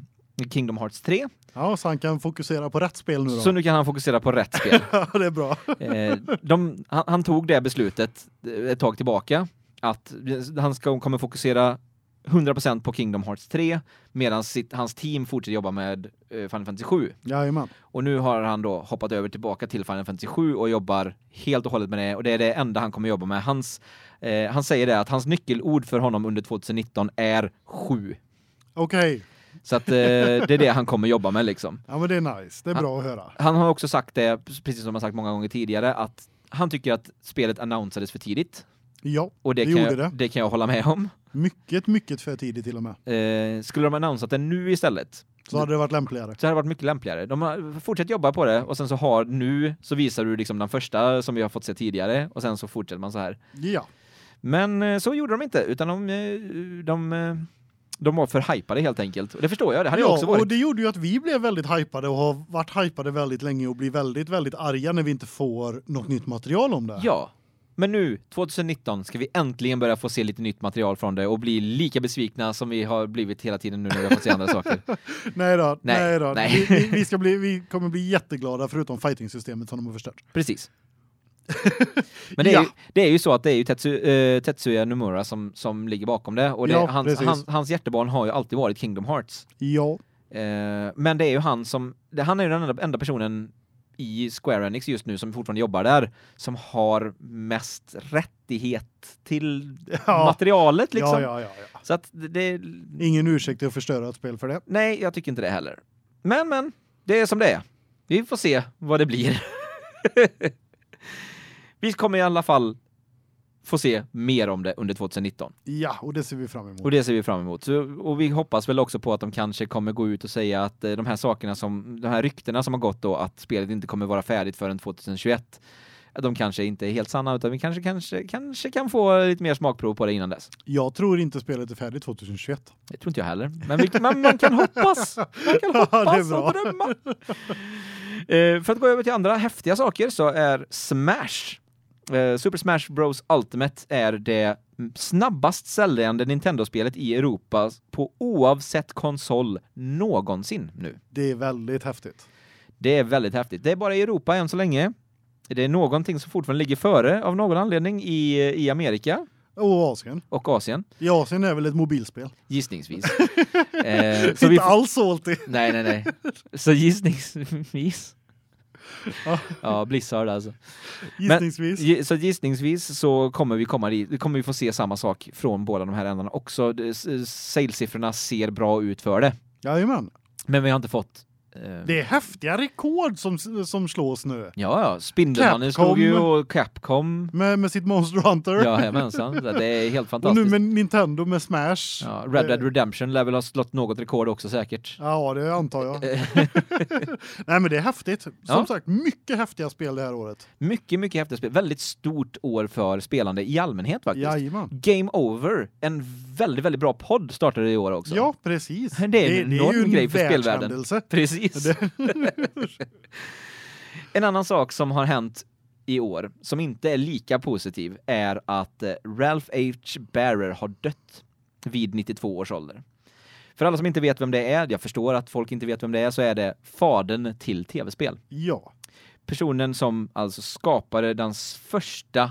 S2: Kingdom Hearts 3,
S1: Ja, så han kan fokusera på rätt spel nu då.
S2: så nu kan han fokusera på rätt spel.
S1: Ja, det är bra.
S2: Eh, de, han, han tog det beslutet eh, ett tag tillbaka att han ska, kommer fokusera 100% på Kingdom Hearts 3 medan sitt, hans team fortsätter jobba med eh, Final Fantasy 7.
S1: Jajamän.
S2: Och nu har han då hoppat över tillbaka till Final Fantasy 7 och jobbar helt och hållet med det och det är det enda han kommer jobba med. Hans, eh, han säger det att hans nyckelord för honom under 2019 är 7.
S1: Okej.
S2: Så att eh, det är det han kommer jobba med liksom.
S1: Ja, men det är nice. Det är
S2: Ja.
S1: bra att höra.
S2: Han har också sagt det, precis som han sagt många gånger tidigare, att han tycker att spelet annonsades för tidigt.
S1: Ja,
S2: Och det,
S1: Det
S2: kan, jag,
S1: gjorde
S2: det.
S1: det.
S2: kan jag hålla med om.
S1: mycket, mycket för tidigt till och med.
S2: Eh, skulle de annonsat det nu istället
S1: Så hade det varit lämpligare.
S2: så hade det varit mycket lämpligare. De har fortsatt jobba på det och sen så har nu så visar du liksom den första som vi har fått se tidigare och sen så fortsätter man så här.
S1: Ja,
S2: Men eh, så gjorde de inte utan de eh, de eh, de var för hypade helt enkelt. Och det förstår jag, det hade jag också
S1: ja
S2: varit.
S1: och det gjorde ju att vi blev väldigt hypade och har varit hypade väldigt länge och blir väldigt, väldigt arga när vi inte får något nytt material om det.
S2: Ja. Men nu, 2019, ska vi äntligen börja få se lite nytt material från det och bli lika besvikna som vi har blivit hela tiden nu när vi har fått se andra saker.
S1: Nej då, nej,
S2: Nej,
S1: då.
S2: nej.
S1: Vi, vi, vi, ska bli, vi kommer bli jätteglada förutom fighting-systemet som de har förstört.
S2: Precis. Men det är,
S1: Ja.
S2: ju, det är ju så att det är ju Tetsu, eh, Tetsuya Nomura som, som ligger bakom det och det,
S1: Ja,
S2: hans,
S1: precis.
S2: hans, hans hjärtebarn har ju alltid varit Kingdom Hearts.
S1: Ja,
S2: Eh, men det är ju han som, det, han är ju den enda, enda personen i Square Enix just nu som fortfarande jobbar där som har mest rättighet till
S1: ja.
S2: materialet liksom.
S1: Ja, ja, ja, ja.
S2: Så att det, det
S1: Ingen ursäkt till att förstöra ett spel för det.
S2: Nej, jag tycker inte det heller. Men, men, det är som det är. Vi får se vad det blir. vi kommer i alla fall få se mer om det under 2019.
S1: Ja, och det ser vi fram emot.
S2: Och det ser vi fram emot. Så, och vi hoppas väl också på att de kanske kommer gå ut och säga att eh, de här sakerna som, de här ryktena som har gått då, att spelet inte kommer vara färdigt förrän 2021, att de kanske inte är helt sanna, utan vi kanske, kanske, kanske kan få lite mer smakprov på det innan dess.
S1: Jag tror inte spelet är färdigt 2021.
S2: Det tror inte jag heller. Men, vi, men man kan hoppas! Man kan
S1: Ja, det är
S2: hoppas
S1: bra.
S2: och drömma! Eh, för att gå över till andra häftiga saker så är Smash, eh, Super Smash Bros Ultimate, är det snabbast säljande Nintendo-spelet i Europa på oavsett konsol någonsin nu.
S1: Det är väldigt häftigt.
S2: Det är väldigt häftigt. Det är bara i Europa än så länge. Det är någonting som fortfarande ligger före av någon anledning i, eh, i Amerika
S1: Och Asien.
S2: och Asien,
S1: I Asien är väl ett mobilspel.
S2: gissningsvis. Eh,
S1: inte
S2: vi-
S1: alls alltid.
S2: Nej, nej, nej. Så gissningsvis.
S1: Ja.
S2: Ja, Blizzard alltså.
S1: Gissningsvis.
S2: Gi- Så gissningsvis så kommer vi komma dit, kommer vi få se samma sak från båda de här ändarna också. Det- s- s- Salesiffrorna ser bra ut för det,
S1: Jajamän.
S2: men vi har inte fått. eh,
S1: Det är häftiga rekord som, som slås nu.
S2: Ja, ja. Spindelmannen
S1: Capcom.
S2: slog ju och Capcom.
S1: Med, med sitt Monster Hunter.
S2: Jajamensan, så det är helt
S1: och nu
S2: fantastiskt.
S1: med Nintendo med Smash.
S2: Ja, Red Dead
S1: Eh,
S2: Redemption lär väl ha slått något rekord också säkert. Eh,
S1: Ja, det antar jag. Nej, men det är häftigt. Som
S2: Ja.
S1: sagt, mycket häftiga spel det här året.
S2: Mycket, mycket häftigt spel. Väldigt stort år för spelande i allmänhet faktiskt.
S1: Jajamän.
S2: Game Over, en väldigt, väldigt bra podd startade i år också.
S1: Ja, precis.
S2: Det är en enorm grej för spelvärlden.
S1: världshändelse.
S2: Precis. en annan sak som har hänt i år, som inte är lika positiv, är att eh, Ralph H. Barrer har dött vid 92 års ålder. För alla som inte vet vem det är, jag förstår att folk inte vet vem det är, så är det fadern till tv-spel.
S1: Ja,
S2: Personen som alltså skapade den första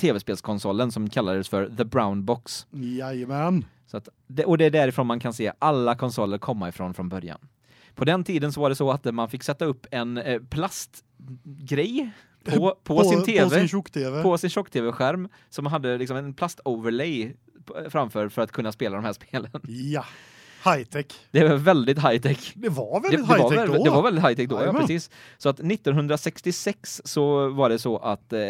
S2: tv-spelskonsolen som kallades för The Brown Box.
S1: jajamän.
S2: Så att, det- och det är därifrån man kan se alla konsoler komma ifrån från början. På den tiden så var det så att man fick sätta upp en eh, plastgrej på, på, sin tv,
S1: På sin tjock-tv.
S2: på sin tjock-tv-skärm som hade liksom en plastoverlay p- framför för att kunna spela de här spelen.
S1: Ja. High-tech.
S2: Det var väldigt high-tech.
S1: Det var
S2: Det,
S1: väldigt
S2: det, var,
S1: high-tech
S2: väl,
S1: då.
S2: det var väldigt high-tech då, ja,
S1: Jajamän.
S2: precis. Så att 1966 så var det så att eh,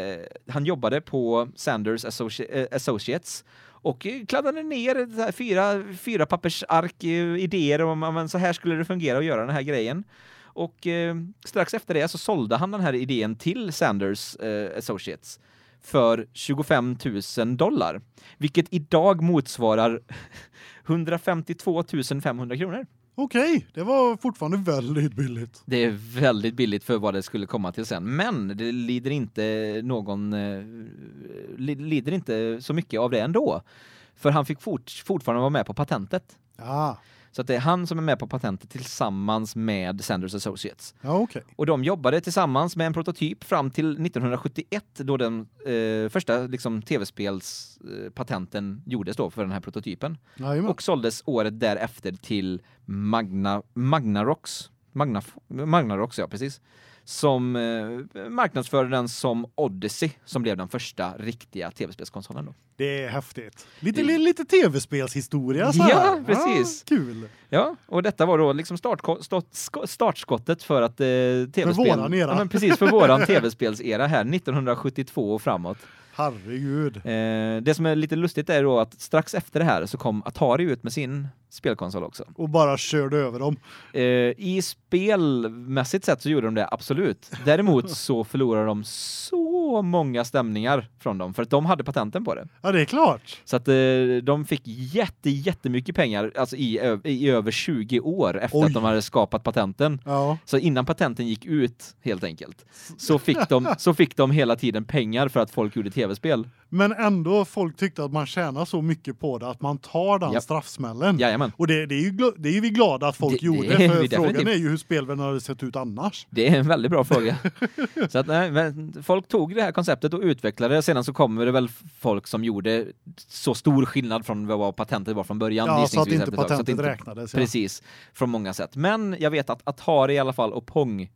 S2: han jobbade på Sanders Associ eh, Associates och eh, kladdade ner så här fyra, fyra pappers ark eh, idéer om ja, men så här skulle det fungera att göra den här grejen. Och eh, strax efter det så sålde han den här idén till Sanders eh, Associates för 25 000 dollar, vilket idag motsvarar 152 500 kronor.
S1: Okej, det var fortfarande väldigt billigt.
S2: Det är väldigt billigt för vad det skulle komma till sen, men det lider inte någon eh, li- lider inte så mycket av det ändå. För han fick fort, fortfarande vara med på patentet.
S1: Ja,
S2: Så att det är han som är med på patentet tillsammans med Sanders Associates.
S1: ja okej.
S2: Och de jobbade tillsammans med en prototyp fram till 1971 då den eh, första liksom, tv-spelspatenten eh, patenten gjordes då för den här prototypen.
S1: Jajamän.
S2: Och såldes året därefter till Magna, Magnarox. Magna, Magnarox, ja precis. Som eh, marknadsförde den som Odyssey, som blev den första riktiga tv-spelskonsolen då.
S1: Det är häftigt. Lite,
S2: Det-
S1: lite tv-spelshistoria så
S2: Ja,
S1: här.
S2: precis.
S1: kul.
S2: Ja, och detta var då liksom startko- start, sko- startskottet för att eh, tv-spel...
S1: våran era.
S2: Ja, men precis, för våran tv-spelsera här, 1972 och framåt.
S1: Herregud.
S2: Eh, det som är lite lustigt är då att strax efter det här så kom Atari ut med sin spelkonsol också.
S1: Och bara körde över dem.
S2: Eh, I spelmässigt sett så gjorde de det, absolut. Däremot så förlorade de så många stämningar från dem, för att de hade patenten på det.
S1: Ja, det är klart.
S2: Så att eh, de fick jätte, jättemycket pengar, alltså i, ö- i över 20 år efter
S1: Oj.
S2: att de hade skapat patenten.
S1: Ja.
S2: Så innan patenten gick ut, helt enkelt, så fick de, så fick de hela tiden pengar för att folk gjorde tv-spel.
S1: Men ändå, folk tyckte att man tjänar så mycket på det att man tar den
S2: Japp.
S1: straffsmällen.
S2: Jajamän.
S1: Och det, det, är ju, gl- det är ju vi glada att folk
S2: Det-
S1: gjorde.
S2: det är
S1: för
S2: vi
S1: frågan
S2: definitivt.
S1: är ju hur spelvärlden hade sett ut annars.
S2: Det är en väldigt bra fråga. så att, nej, men folk tog det här konceptet och utvecklade det. Sedan så kommer det väl folk som gjorde så stor skillnad från vad patentet var från början.
S1: Ja, så att
S2: gissningsvis
S1: inte
S2: efter ett tag.
S1: patentet
S2: inte-
S1: räknades. Ja.
S2: Precis, från många sätt. Men jag vet att Atari i alla fall och Pong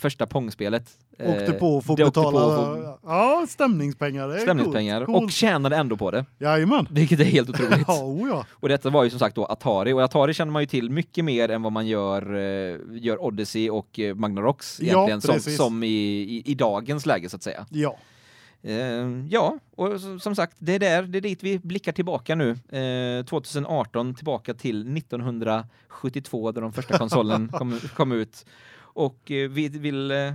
S2: första Pong-spelet. eh,
S1: Åkte på att få
S2: det åkte på
S1: betala
S2: att få
S1: ja, stämningspengar. Det är
S2: stämningspengar
S1: coolt, coolt.
S2: och tjänade ändå på det.
S1: Jajamän.
S2: Vilket är helt otroligt.
S1: Ja, oh ja.
S2: Och detta var ju som sagt då Atari och Atari känner man ju till mycket mer än vad man gör eh, gör Odyssey och eh, Magnavox
S1: Ja,
S2: egentligen som
S1: precis.
S2: som i, i i dagens läge så att säga.
S1: Ja,
S2: Eh, ja, och s- som sagt, det är där det är dit vi blickar tillbaka nu. Eh, 2018 tillbaka till 1972 där de första konsolen kom, kom ut och eh, vi vill eh,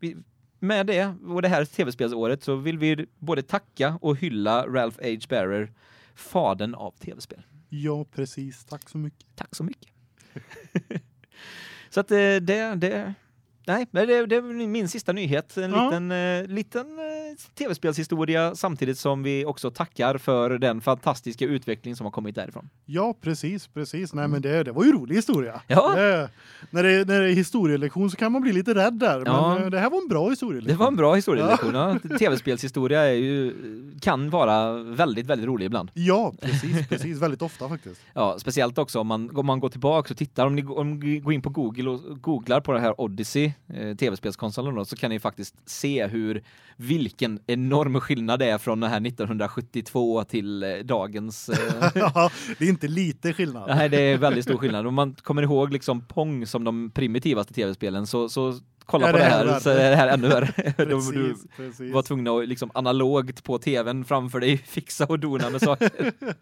S2: vi, med det och det här tv-spelsåret så vill vi både tacka och hylla Ralph H. Barrer, fadern av tv-spel.
S1: ja precis. Tack så mycket.
S2: Tack så mycket. så att eh, det, det, nej, men det, det är min sista nyhet. En
S1: Ja.
S2: liten, eh, liten eh, tv-spelshistoria samtidigt som vi också tackar för den fantastiska utveckling som har kommit därifrån.
S1: Ja, precis, precis. Nej, men det, det var ju rolig historia.
S2: Mm. Ja.
S1: Det, när, det, när det är historielektion så kan man bli lite rädd där.
S2: Ja.
S1: Men eh, det här var en bra historielektion.
S2: Det var en bra historielektion. Ja. Tv-spelshistoria är ju, kan vara väldigt, väldigt rolig ibland.
S1: Ja, precis, precis. Väldigt ofta faktiskt.
S2: Ja, speciellt också om man, om man går tillbaka och tittar, om ni, gå- om ni går in på Google och googlar på det här Odyssey, eh, tv-spelskonsolen då, så kan ni faktiskt se hur, vilken enorm skillnad det är från det här 1972 till eh, dagens. Eh,
S1: Ja, det är inte lite skillnad.
S2: nej, det är väldigt stor skillnad. Om man kommer ihåg liksom Pong som de primitivaste tv-spelen så, så kolla
S1: Ja,
S2: på
S1: det
S2: det
S1: är
S2: här
S1: värre.
S2: så är det här ännu värre.
S1: Precis,
S2: De- du
S1: precis.
S2: var tvungna att liksom analogt på tvn framför dig fixa och dona med saker.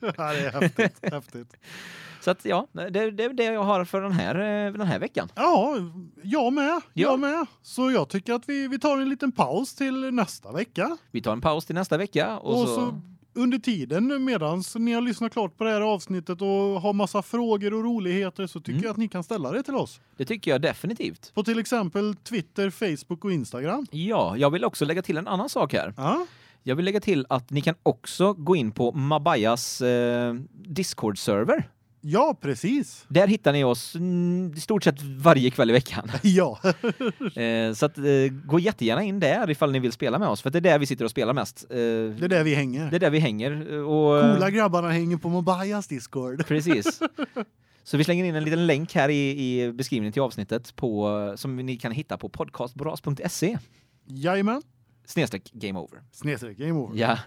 S1: Ja, det är häftigt, häftigt.
S2: Så att ja, det det är det, jag har för den här, eh, den här veckan.
S1: Ja, jag med.
S2: Ja.
S1: Jag med. Så jag tycker att vi, vi tar en liten paus till nästa vecka.
S2: Vi tar en paus till nästa vecka och,
S1: Och,
S2: så...
S1: så... under tiden medan ni har lyssnat klart på det här avsnittet och har massa frågor och roligheter så tycker
S2: Mm.
S1: jag att ni kan ställa det till oss.
S2: Det tycker jag definitivt.
S1: På till exempel Twitter, Facebook och Instagram.
S2: Ja, jag vill också lägga till en annan sak här.
S1: Ja,
S2: Jag vill lägga till att ni kan också gå in på Mabayas eh, Discord-server.
S1: ja precis.
S2: Där hittar ni oss mm, i stort sett varje kväll i veckan.
S1: Ja,
S2: Eh, så att, eh, gå jättegärna in där ifall ni vill spela med oss, för det är där vi sitter och spelar mest. Eh,
S1: det är där vi hänger.
S2: det är där vi hänger. eh, Och,
S1: Coola grabbarna hänger på Mobayas Discord.
S2: Precis. Så vi slänger in en liten länk här i, i beskrivningen till avsnittet på, som ni kan hitta på podcastbras.se
S1: Jajamän.
S2: snedstreck game over.
S1: Snedstreck game over.
S2: Ja,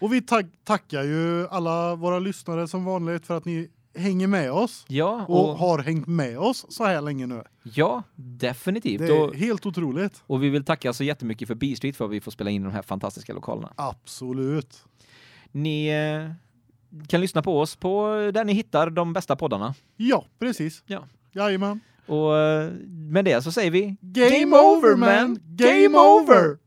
S1: Och vi tack, tackar ju alla våra lyssnare som vanligt för att ni hänger med oss
S2: ja
S1: och,
S2: och,
S1: har hängt med oss så här länge nu.
S2: ja,
S1: Det
S2: definitivt.
S1: är
S2: Och,
S1: helt otroligt.
S2: och vi vill tacka så jättemycket för B-Street för att vi får spela in i de här fantastiska lokalerna.
S1: Absolut.
S2: Ni eh, kan lyssna på oss på där ni hittar de bästa poddarna.
S1: Ja, precis.
S2: Ja.
S1: Jajamän.
S2: Och eh, med det så säger vi
S1: Game over, man. Game over.